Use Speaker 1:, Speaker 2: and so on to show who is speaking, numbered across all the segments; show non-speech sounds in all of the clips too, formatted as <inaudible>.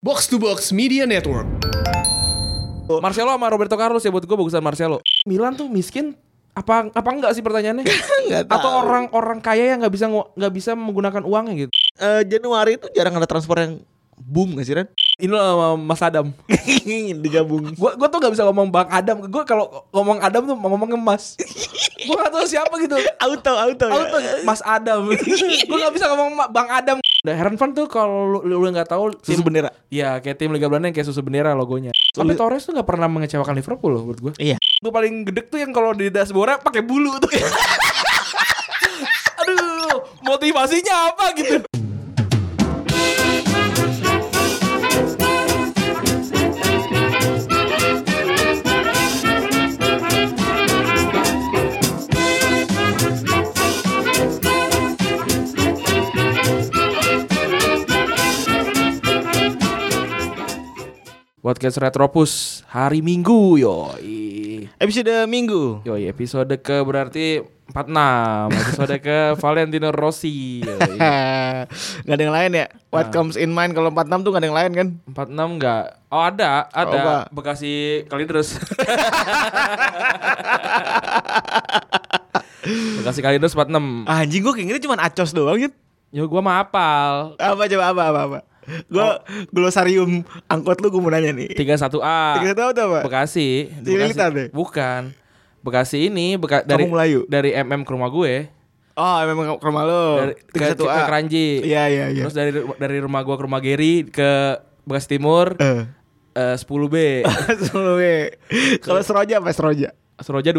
Speaker 1: Box to Box Media Network.
Speaker 2: Marcelo sama Roberto Carlos ya buat gue bagusan Marcelo. Oh. Milan tuh miskin apa apa enggak sih <laughs> pertanyaannya?
Speaker 3: Nggak tahu.
Speaker 2: Atau orang-orang kaya yang nggak bisa ngu- nggak bisa menggunakan uangnya gitu.
Speaker 3: Eh, Januari itu jarang ada transfer yang boom gak sih Ren?
Speaker 2: Ini loh sama Mas Adam.
Speaker 3: <laughs> Digabung.
Speaker 2: Gue gua tuh nggak bisa ngomong Bang Adam. Gue kalau ngomong Adam tuh ngomong <laughs> Mas. gue nggak tahu siapa gitu.
Speaker 3: Auto, auto. ya?
Speaker 2: Auto Mas
Speaker 3: <laughs>
Speaker 2: Adam. gue nggak bisa ngomong Ma- Bang Adam. Nah, Heran Van tuh kalau lu, lu nggak tahu tim-
Speaker 3: Susu bendera.
Speaker 2: Ya kayak tim Liga Belanda yang kayak susu bendera logonya. Tapi Torres tuh nggak pernah mengecewakan Liverpool loh menurut gue.
Speaker 3: Iya.
Speaker 2: Gue paling gede tuh yang kalau di dashboardnya pakai bulu
Speaker 3: <laughs>
Speaker 2: tuh. Aduh, motivasinya apa gitu? Podcast Retropus hari Minggu yoi.
Speaker 3: Episode minggu.
Speaker 2: Yoi episode ke berarti 46 Episode ke
Speaker 3: <laughs>
Speaker 2: Valentino Rossi yoi.
Speaker 3: Iya. gak ada yang lain ya? What comes in mind kalau 46 tuh gak ada yang lain kan?
Speaker 2: 46 enggak? Oh ada,
Speaker 3: Oh, enggak.
Speaker 2: ada Bekasi Kalidres <laughs> Bekasi Kalidres 46
Speaker 3: Ah, anjing gue kayaknya cuma acos doang ya.
Speaker 2: Yo gua mah apal
Speaker 3: Apa coba apa apa apa? Gue glosarium angkot lu gue mau nanya nih.
Speaker 2: 31A
Speaker 3: Tiga tahu tuh apa?
Speaker 2: Bekasi di Bekasi.
Speaker 3: Cililitan deh.
Speaker 2: Bukan Bekasi ini Beka- dari
Speaker 3: Melayu?
Speaker 2: dari MM ke rumah gue
Speaker 3: Oh, memang ke rumah lu.
Speaker 2: dari, ke, ke,
Speaker 3: 31A.
Speaker 2: ke Keranji
Speaker 3: Iya, iya, iya. <laughs>
Speaker 2: Terus dari dari rumah gua ke rumah Geri ke Bekasi Timur
Speaker 3: Eh.
Speaker 2: eh, 10B
Speaker 3: Sebelum gue. eh. Kalau Seroja apa Seroja?
Speaker 2: Seroja 25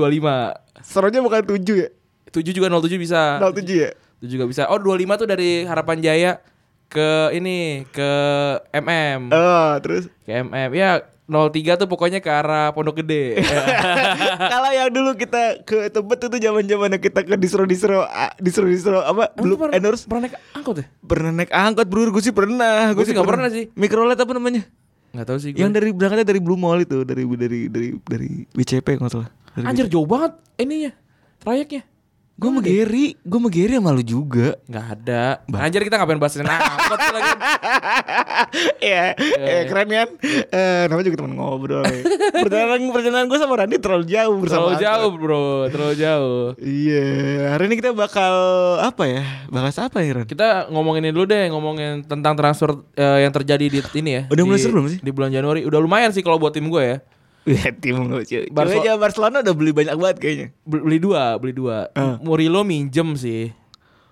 Speaker 3: Seroja bukan 7 ya?
Speaker 2: 7 juga 07 bisa
Speaker 3: 07 ya?
Speaker 2: 7 juga bisa Oh 25 tuh dari Harapan Jaya Ke ini Ke MM
Speaker 3: Oh, terus
Speaker 2: Ke MM Ya 03 tuh pokoknya ke arah Pondok
Speaker 3: <laughs>
Speaker 2: Gede Ya.
Speaker 3: kalau yang dulu kita ke tempat itu zaman zamannya kita ke distro distro distro distro apa
Speaker 2: Emang lu
Speaker 3: belum endorse
Speaker 2: Pernah naik angkot ya?
Speaker 3: pernah naik angkot bro gue sih pernah
Speaker 2: Gua sih nggak pernah sih.
Speaker 3: mikrolet apa namanya
Speaker 2: Gak tau sih gue
Speaker 3: yang dari berangkatnya dari Blue Mall itu dari dari dari dari WCP nggak salah Dari
Speaker 2: Anjir ya? jauh banget Ininya Trayeknya
Speaker 3: gue sama Gary gue sama Gary sama lu
Speaker 2: <laughs>
Speaker 3: juga
Speaker 2: Gak ada Nah, Anjir kita ngapain bahasin angkot sih
Speaker 3: <laughs>
Speaker 2: lagi
Speaker 3: Iya, eh, keren kan?
Speaker 2: Iya.
Speaker 3: Eh, namanya juga teman ngobrol. ya. perjalanan perjalanan gue sama Randy terlalu jauh
Speaker 2: Terlalu
Speaker 3: bersama. angkot.
Speaker 2: jauh bro Terlalu jauh
Speaker 3: Iya, hari ini kita bakal apa ya? Bahas apa ya, Ran?
Speaker 2: Kita ngomongin ini dulu deh ngomongin tentang transfer eh, yang terjadi di ini ya.
Speaker 3: Udah mulai
Speaker 2: di-
Speaker 3: seru belum sih?
Speaker 2: Di bulan Januari udah lumayan sih kalau buat tim gue ya.
Speaker 3: Wih, Iya, tim lu cuy.
Speaker 2: Barso-
Speaker 3: Cuma aja Barcelona udah beli banyak banget kayaknya.
Speaker 2: Bel- Beli dua, beli dua.
Speaker 3: Eh.
Speaker 2: Murilo minjem sih.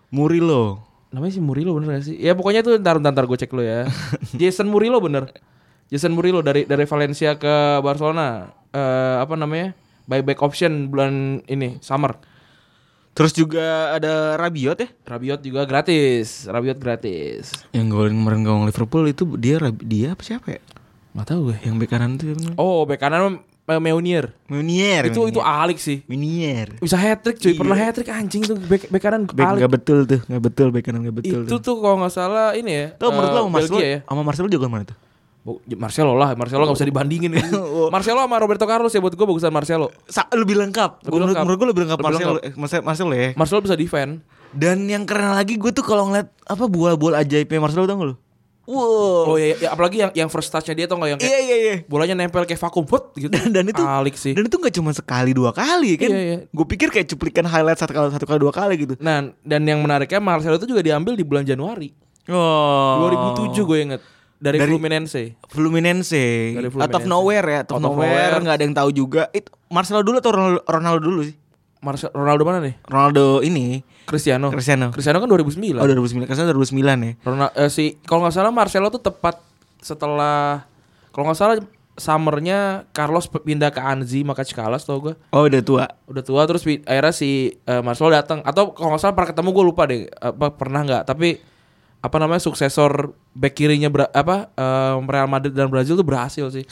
Speaker 3: Murilo.
Speaker 2: Namanya si Murilo bener gak sih? Ya pokoknya tuh ntar ntar, ntar gue cek lu ya.
Speaker 3: <laughs>
Speaker 2: Jason Murilo bener. Jason Murilo dari dari Valencia ke Barcelona. Eh apa namanya? Buyback option bulan ini summer.
Speaker 3: Terus juga ada Rabiot ya.
Speaker 2: Rabiot juga gratis. Rabiot gratis.
Speaker 3: Yang golin kemarin gawang Liverpool itu dia Rabi- dia apa siapa ya?
Speaker 2: Gak tahu gue.
Speaker 3: Yang bek kanan itu siapa namanya?
Speaker 2: Oh, bek kanan eh, Meunier.
Speaker 3: Er, Meunier.
Speaker 2: Itu itu Alex sih.
Speaker 3: Meunier.
Speaker 2: bisa hat trick cuy pernah hat trick anjing tuh bek, bek kanan
Speaker 3: Bek
Speaker 2: Alex.
Speaker 3: nggak betul tuh, nggak betul bek kanan nggak betul.
Speaker 2: itu tuh kalau nggak salah ini ya
Speaker 3: Tuh menurut
Speaker 2: eh,
Speaker 3: lo sama Marcelo,
Speaker 2: Belgia ya
Speaker 3: sama Marcelo juga mana tuh?
Speaker 2: Bo- Marcelo lah Marcelo nggak bisa dibandingin
Speaker 3: <laughs>
Speaker 2: ini.
Speaker 3: Oh.
Speaker 2: Marcelo sama Roberto Carlos ya buat gue bagusan Marcelo
Speaker 3: Sa- lebih
Speaker 2: Lebih
Speaker 3: lengkap. Gua- menurut,
Speaker 2: lengkap.
Speaker 3: menurut gue lebih lengkap
Speaker 2: Lebih
Speaker 3: Marcelo.
Speaker 2: lengkap.
Speaker 3: Eh, Marcel- Marcelo ya.
Speaker 2: Marcelo bisa defend
Speaker 3: Dan yang keren lagi gue tuh kalau ngeliat apa bola-bola ajaibnya Marcelo tau gak lo? Wow.
Speaker 2: oh iya, iya. apalagi yang yang first touchnya dia tau nggak yang kayak
Speaker 3: Iya iya iya.
Speaker 2: bolanya nempel kayak vakum put gitu
Speaker 3: dan, <laughs> dan itu
Speaker 2: Alik sih
Speaker 3: dan itu nggak cuma sekali dua kali kan
Speaker 2: Iya, iya.
Speaker 3: gue pikir kayak cuplikan highlight satu kali satu kali dua kali gitu
Speaker 2: nah dan yang menariknya Marcelo itu juga diambil di bulan Januari
Speaker 3: oh
Speaker 2: 2007 gue inget dari,
Speaker 3: Dari-
Speaker 2: Fluminense
Speaker 3: Fluminense,
Speaker 2: Dari
Speaker 3: out of
Speaker 2: Fluminense.
Speaker 3: nowhere ya
Speaker 2: Out
Speaker 3: out of
Speaker 2: of
Speaker 3: nowhere
Speaker 2: nowhere.
Speaker 3: nggak ada yang tahu juga It, Marcelo dulu atau Ronaldo, Ronaldo dulu sih
Speaker 2: Marcelo Ronaldo mana nih
Speaker 3: Ronaldo ini
Speaker 2: Cristiano
Speaker 3: Cristiano.
Speaker 2: Cristiano kan 2009
Speaker 3: oh 2009 Cristiano 2009 ya
Speaker 2: Ronaldo eh, si kalau nggak salah Marcelo tuh tepat setelah kalau nggak salah summernya Carlos pe- pindah ke Anzi maka Cikalas tau gue
Speaker 3: oh udah tua
Speaker 2: udah tua terus pi- akhirnya si eh, Marcelo datang atau kalau nggak salah pernah ketemu gue lupa deh apa pernah nggak tapi apa namanya suksesor back kirinya Bra- apa eh, Real Madrid dan Brazil tuh berhasil sih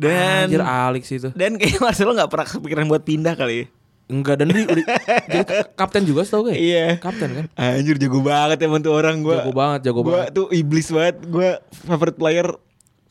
Speaker 3: dan
Speaker 2: Anjir Alex itu
Speaker 3: dan kayak Marcelo nggak pernah kepikiran buat pindah kali ya.
Speaker 2: Enggak dan
Speaker 3: <laughs>
Speaker 2: dia udah- jadi kapten juga tau gue
Speaker 3: Iya.
Speaker 2: Kapten kan
Speaker 3: Anjir jago banget emang tuh orang gue
Speaker 2: Jago banget, jago banget.
Speaker 3: tuh iblis banget gue favorite player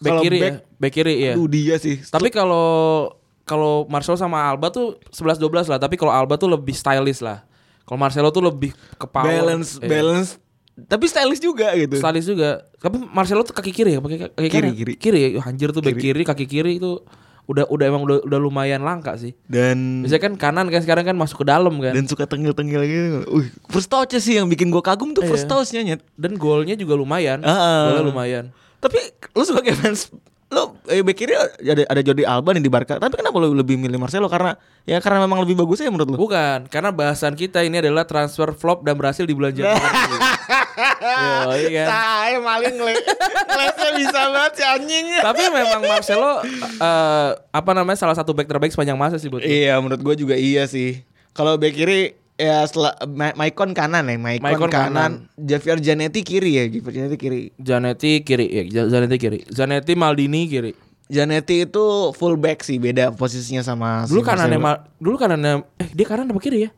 Speaker 2: Back
Speaker 3: kalau
Speaker 2: kiri ya Back kiri iya
Speaker 3: aduh, dia sih
Speaker 2: Tapi kalau kalau Marcelo sama Alba tuh 11 12 lah, tapi kalau Alba tuh lebih stylish lah. Kalau Marcelo tuh lebih ke power.
Speaker 3: balance
Speaker 2: Iya.
Speaker 3: balance Tapi stylish juga gitu.
Speaker 2: Stalis juga. Tapi Marcelo tuh kaki kiri ya, pakai kaki
Speaker 3: Kiri,
Speaker 2: kanan?
Speaker 3: kiri.
Speaker 2: Kiri ya, Yuh, anjir tuh back kiri, kaki kiri itu udah udah emang udah, udah lumayan langka sih.
Speaker 3: Dan
Speaker 2: Biasanya kan kanan kan sekarang kan masuk ke dalam kan. Dan,
Speaker 3: dan suka tengil-tengil gitu. Uh, first touch sih yang bikin gue kagum
Speaker 2: Iya.
Speaker 3: tuh first touch-nya Nyet.
Speaker 2: golnya juga lumayan.
Speaker 3: Heeh.
Speaker 2: Golnya lumayan.
Speaker 3: Tapi lu sebagai fans lu eh, back kiri ada ada Jordi Alba nih di Barca. Tapi kenapa lu lebih milih Marcelo karena ya karena memang lebih bagus ya menurut lu?
Speaker 2: Bukan, karena bahasan kita ini adalah transfer flop dan berhasil di bulan
Speaker 3: <laughs>
Speaker 2: Januari. Yo, iya kan?
Speaker 3: Saya maling le. <laughs> Lesnya bisa banget si anjing.
Speaker 2: Tapi memang Marcelo eh, apa namanya salah satu back terbaik sepanjang masa sih buat gue.
Speaker 3: Iya, menurut gue juga iya sih. Kalau back kiri ya setelah Ma- Maicon kanan ya, Maicon,
Speaker 2: Maicon kanan.
Speaker 3: kanan, Javier Zanetti kiri ya, Javier Zanetti kiri.
Speaker 2: Zanetti kiri, ya, Zanetti kiri. Zanetti Maldini kiri.
Speaker 3: Zanetti itu full back sih, beda posisinya sama si
Speaker 2: Dulu kanannya
Speaker 3: Marcelo.
Speaker 2: Ma- dulu kanannya eh dia kanan apa kiri ya?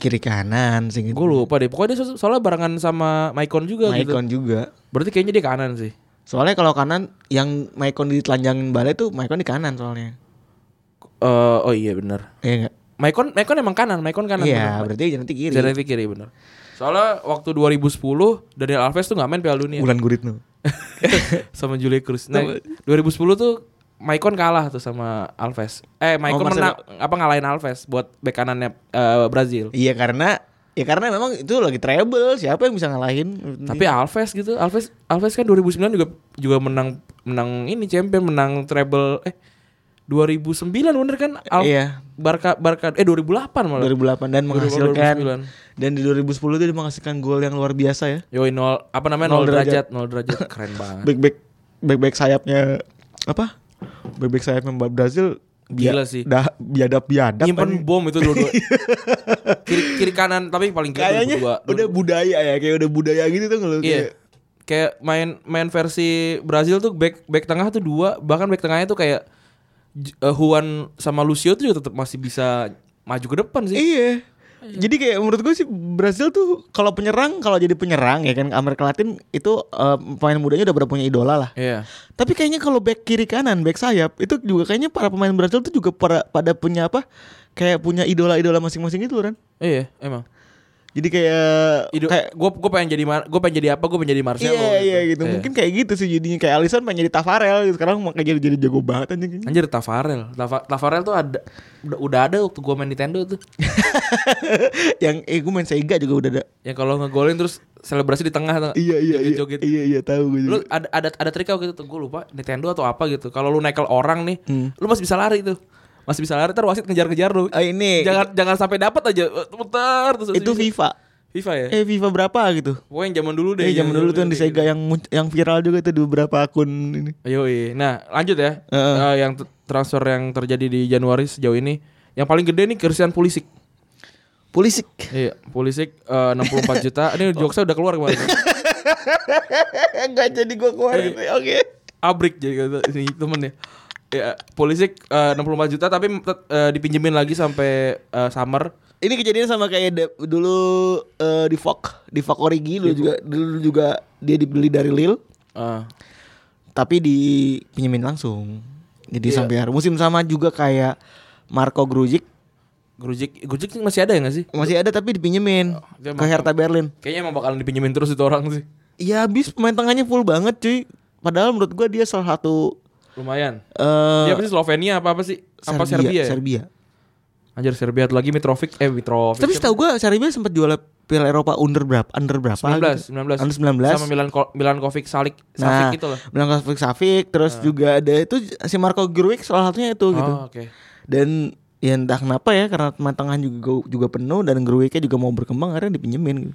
Speaker 3: kiri kanan sih gitu.
Speaker 2: Gue lupa deh. Pokoknya dia so- soalnya barengan sama Maicon juga gitu.
Speaker 3: Maicon juga.
Speaker 2: Berarti kayaknya dia kanan sih.
Speaker 3: Soalnya kalau kanan yang Maicon ditelanjangin balai tuh Maicon di kanan soalnya.
Speaker 2: Eh, oh iya benar.
Speaker 3: Iya enggak?
Speaker 2: Maicon Maicon emang kanan, Maicon kanan.
Speaker 3: Iya,
Speaker 2: bener.
Speaker 3: berarti Zanetti kiri.
Speaker 2: Zanetti kiri benar. Soalnya waktu 2010 Daniel Alves tuh nggak main Piala Dunia
Speaker 3: Bulan Guritno.
Speaker 2: <laughs> sama Julio Cruz. Nah, 2010 tuh Maicon kalah tuh sama Alves. Eh, Maicon
Speaker 3: Oh,
Speaker 2: menang
Speaker 3: Marcelo.
Speaker 2: apa ngalahin Alves buat bek kanannya eh, Brazil.
Speaker 3: <laughs> Iya karena ya karena memang itu lagi treble, siapa yang bisa ngalahin?
Speaker 2: Tapi Alves gitu, Alves Alves kan 2009 juga juga menang menang ini champion, menang treble eh 2009 bener kan? Al
Speaker 3: Iya.
Speaker 2: Barca Barca eh 2008 malah.
Speaker 3: 2008 dan menghasilkan
Speaker 2: 2009.
Speaker 3: dan di 2010 itu dia menghasilkan gol yang luar biasa ya.
Speaker 2: Yoi nol apa namanya nol,
Speaker 3: Nol
Speaker 2: derajat.
Speaker 3: derajat.
Speaker 2: nol derajat keren
Speaker 3: <laughs>
Speaker 2: banget.
Speaker 3: Back back back back sayapnya apa? Back back sayapnya Mbak Brazil bia-
Speaker 2: Gila sih.
Speaker 3: Dah biadab biadab. kan.
Speaker 2: Nyimpen bom itu
Speaker 3: <laughs>
Speaker 2: dua-dua. kiri, kiri kanan tapi paling kiri
Speaker 3: Kayaknya
Speaker 2: dua
Speaker 3: udah budaya ya, kayak udah budaya gitu tuh kalau
Speaker 2: Iya. Kayak main main versi Brazil tuh back back tengah tuh dua, bahkan back tengahnya tuh kayak J- eh, Juan sama Lucio tuh juga tetap masih bisa maju ke depan sih.
Speaker 3: Iya. Jadi kayak menurut gue sih Brazil tuh kalau penyerang kalau jadi penyerang ya kan Amerika Latin itu eh, pemain mudanya udah pada punya idola lah.
Speaker 2: Iya.
Speaker 3: Tapi kayaknya kalau back kiri kanan, back sayap itu juga kayaknya para pemain Brazil tuh juga para, pada punya apa? Kayak punya idola-idola masing-masing gitu kan.
Speaker 2: Iya, emang.
Speaker 3: Jadi kayak
Speaker 2: Ido,
Speaker 3: kayak
Speaker 2: gue gue pengen jadi mar, gue pengen jadi apa? Gue pengen jadi Marcelo.
Speaker 3: Iya iya gitu. Mungkin kayak gitu sih jadinya kayak Alisson pengen jadi Tafarel gitu. Sekarang makanya jadi jadi jago banget anjing.
Speaker 2: Anjir Tafarel, Tava- Tafarel tuh ada udah, udah ada waktu gue main Nintendo tuh.
Speaker 3: <laughs> Yang eh gue main Sega juga udah ada.
Speaker 2: Yang kalau ngegolin terus selebrasi di tengah tuh.
Speaker 3: Iya iya iya.
Speaker 2: Joget-joget.
Speaker 3: Iya iya tahu gue
Speaker 2: Lu
Speaker 3: juga.
Speaker 2: ada ada ada trik waktu itu gue lupa Nintendo atau apa gitu. Kalau lu nekel orang nih,
Speaker 3: Hmm.
Speaker 2: lu masih bisa lari tuh. Masih bisa lari terus wasit ngejar-ngejar lu.
Speaker 3: Ah, ini
Speaker 2: jangan jangan sampai dapat aja muter terus
Speaker 3: itu
Speaker 2: masih bisa.
Speaker 3: FIFA.
Speaker 2: FIFA ya.
Speaker 3: Eh FIFA berapa gitu?
Speaker 2: Pokoknya yang zaman dulu deh. gitu.
Speaker 3: Eh zaman dulu tuh yang di
Speaker 2: deh.
Speaker 3: Sega yang mun- yang viral juga tuh di beberapa akun ini.
Speaker 2: Yoi. Nah, lanjut ya.
Speaker 3: Heeh.
Speaker 2: Eh, yang t- transfer yang terjadi di Januari sejauh ini, yang paling gede nih Christian Pulisic.
Speaker 3: <laughs> Polisi.
Speaker 2: Iya, Pulisic eh,
Speaker 3: <laughs>
Speaker 2: 64 juta. Ini jokesnya udah keluar kemarin.
Speaker 3: Enggak jadi gue keluarin. Oke.
Speaker 2: Abrik jadi kata ini temennya. Ya, Pulisic eh, 64 juta tapi tet- eh, dipinjemin lagi sampai eh, summer.
Speaker 3: Ini kejadian sama kayak de- dulu eh, di Fok, di Fok Origi dulu juga dulu juga dia dibeli dari Lille
Speaker 2: Eh,
Speaker 3: tapi dipinjemin langsung. Jadi
Speaker 2: Iya.
Speaker 3: sampai hari musim sama juga kayak Marco Grujic
Speaker 2: Grujic, Grujic masih ada ya gak sih?
Speaker 3: masih ada tapi dipinjemin
Speaker 2: Iya, dia
Speaker 3: ke Hertha Berlin.
Speaker 2: Kayaknya emang bakalan dipinjemin terus itu orang sih.
Speaker 3: Ya habis pemain tengahnya full banget cuy. Padahal menurut gua dia salah satu
Speaker 2: Lumayan.
Speaker 3: eh
Speaker 2: Dia apa sih Slovenia apa apa sih? Iya, Apa Serbia? ya?
Speaker 3: Serbia.
Speaker 2: Anjir Serbia tuh lagi Mitrovic eh Mitrovic.
Speaker 3: Tapi setahu gua Serbia sempat juara Piala Eropa under berapa? Under berapa?
Speaker 2: 19,
Speaker 3: gitu.
Speaker 2: 19.
Speaker 3: Under 19.
Speaker 2: Sama Milan Milan Kovic Salik
Speaker 3: Nah,
Speaker 2: Salik gitu lah.
Speaker 3: Milan Kovacic Savic, terus juga ada itu si Marco Grujic salah satunya itu gitu.
Speaker 2: Nah. Oh, oke.
Speaker 3: Dan ya entah kenapa ya karena teman tengah juga juga penuh dan Grujic juga mau berkembang akhirnya dipinjemin gitu.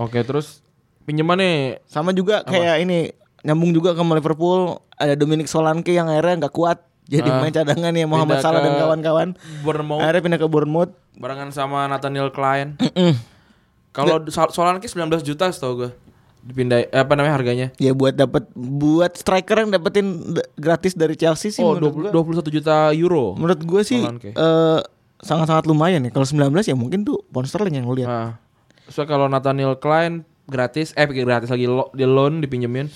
Speaker 2: Oke, terus pinjaman nih
Speaker 3: Sama juga kayak ini nyambung juga ke Liverpool ada Dominic Solanke yang akhirnya nggak kuat jadi main cadangan ya Muhammad
Speaker 2: Ah. Pindah
Speaker 3: Salah
Speaker 2: ke
Speaker 3: dan kawan-kawan.
Speaker 2: Bournemouth
Speaker 3: Akhirnya pindah ke Bournemouth.
Speaker 2: barengan sama Nathaniel Klein.
Speaker 3: <clears throat>
Speaker 2: Kalau Sol- Solanke 19 juta setahu gue. Dipindah eh, apa namanya harganya?
Speaker 3: Ya buat dapat buat striker yang dapetin d- gratis dari Chelsea sih
Speaker 2: Oh,
Speaker 3: menurut
Speaker 2: 20, 21 juta euro.
Speaker 3: menurut gue sih
Speaker 2: Solanke.
Speaker 3: eh, sangat-sangat lumayan ya. Kalau 19 ya mungkin tuh pound sterling yang lu lihat.
Speaker 2: Nah, so kalau Nathaniel Klein gratis, eh pikir gratis lagi lo, di loan dipinjemin.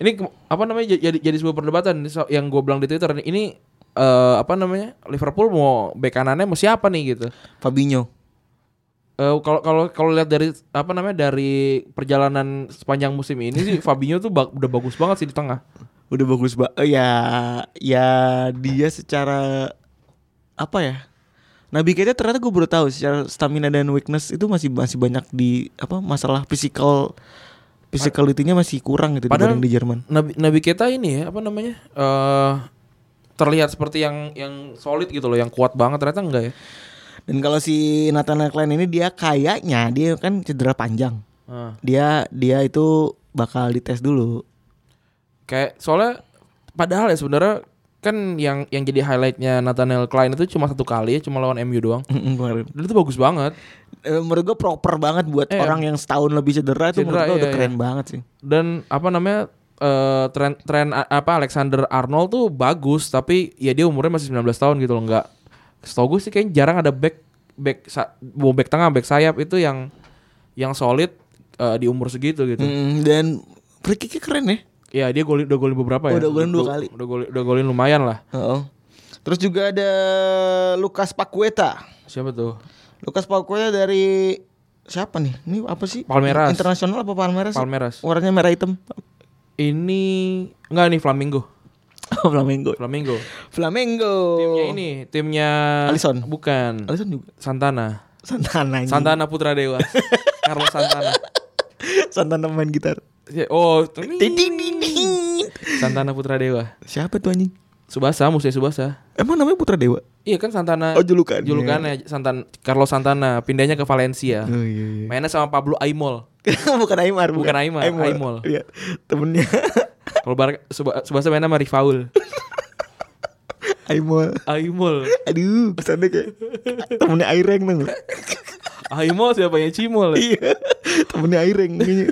Speaker 2: Ini ke- apa namanya jadi jadi sebuah perdebatan so- yang gue bilang di Twitter ini eh, apa namanya Liverpool mau bek kanannya mau siapa nih gitu.
Speaker 3: Fabinho.
Speaker 2: Eh, kalau kalau kalau lihat dari apa namanya dari perjalanan sepanjang musim ini
Speaker 3: <laughs>
Speaker 2: sih Fabinho tuh ba- udah bagus banget sih di tengah.
Speaker 3: Udah bagus banget. ya, ya dia secara apa ya? Nabi Keita ternyata gue baru tahu secara stamina dan weakness itu masih masih banyak di apa masalah physical physicality-nya masih kurang gitu
Speaker 2: Padahal-
Speaker 3: dibanding di Jerman.
Speaker 2: Nabi Nabi Keita ini ya apa namanya eh terlihat seperti yang yang solid gitu loh, yang kuat banget ternyata enggak ya.
Speaker 3: Dan kalau si Nathan Klein ini dia kayaknya dia kan cedera panjang.
Speaker 2: Nah,
Speaker 3: Dia dia itu bakal dites dulu.
Speaker 2: kayak soalnya padahal ya sebenarnya kan yang yang jadi highlightnya Nathaniel Klein itu cuma satu kali ya, cuma lawan MU doang.
Speaker 3: kemarin.
Speaker 2: Dia tuh bagus banget
Speaker 3: Eh, menurut gue proper banget buat
Speaker 2: Iya.
Speaker 3: orang yang setahun lebih cedera itu menurut
Speaker 2: Cedera,
Speaker 3: gue udah
Speaker 2: iya,
Speaker 3: keren banget sih.
Speaker 2: dan apa namanya eh tren tren a- apa Alexander Arnold tuh bagus tapi ya dia umurnya masih 19 tahun gitu loh nggak setahu gue sih kayaknya jarang ada back back sa- mau back tengah back sayap itu yang yang solid eh, di umur segitu gitu.
Speaker 3: Mm, dan free kicknya keren ya.
Speaker 2: Ya dia golin udah golin beberapa ya.
Speaker 3: Udah golin dua
Speaker 2: Udah-
Speaker 3: kali.
Speaker 2: Udah golin udah golin lumayan lah.
Speaker 3: Oh. Terus juga ada Lukas Paqueta.
Speaker 2: Siapa tuh?
Speaker 3: Lukas Paqueta dari siapa nih? Ini apa sih?
Speaker 2: Palmeiras.
Speaker 3: Internasional apa Palmeiras?
Speaker 2: Palmeiras.
Speaker 3: Warnanya merah hitam. <laughs>
Speaker 2: Ini enggak nih Flamingo.
Speaker 3: Flamengo.
Speaker 2: Flamingo.
Speaker 3: Flamengo.
Speaker 2: Timnya ini, timnya
Speaker 3: Oh. Alisson.
Speaker 2: Bukan.
Speaker 3: Alisson juga.
Speaker 2: Santana.
Speaker 3: Santana. anjing.
Speaker 2: Santana Putra Dewa. Carlos Santana.
Speaker 3: <laughs> Santana main gitar.
Speaker 2: Ya, Oh, tuh
Speaker 3: Ding,
Speaker 2: nih.
Speaker 3: ding, ding, ding.
Speaker 2: Santana Putra Dewa.
Speaker 3: Siapa tuh anjing?
Speaker 2: Subasa, musuhnya Subasa.
Speaker 3: Emang namanya Putra Dewa?
Speaker 2: Iya kan Santana.
Speaker 3: Oh, julukannya.
Speaker 2: Julukannya Santan Carlos Santana pindahnya ke Valencia.
Speaker 3: Oh iya iya. <laughs>
Speaker 2: Mainnya sama Pablo Aimol.
Speaker 3: bukan Aimar,
Speaker 2: Bukan Aimar, Aimol.
Speaker 3: Iya, temennya <laughs>
Speaker 2: Kalau Bar- Suba- Subasa mainnya sama Rifaul.
Speaker 3: Aimol.
Speaker 2: Aimol.
Speaker 3: Aduh, kesannya kayak
Speaker 2: <laughs>
Speaker 3: temennya Aireng tuh.
Speaker 2: Aimol siapa ya Cimol. ya?
Speaker 3: Iya, temennya Aireng kayaknya.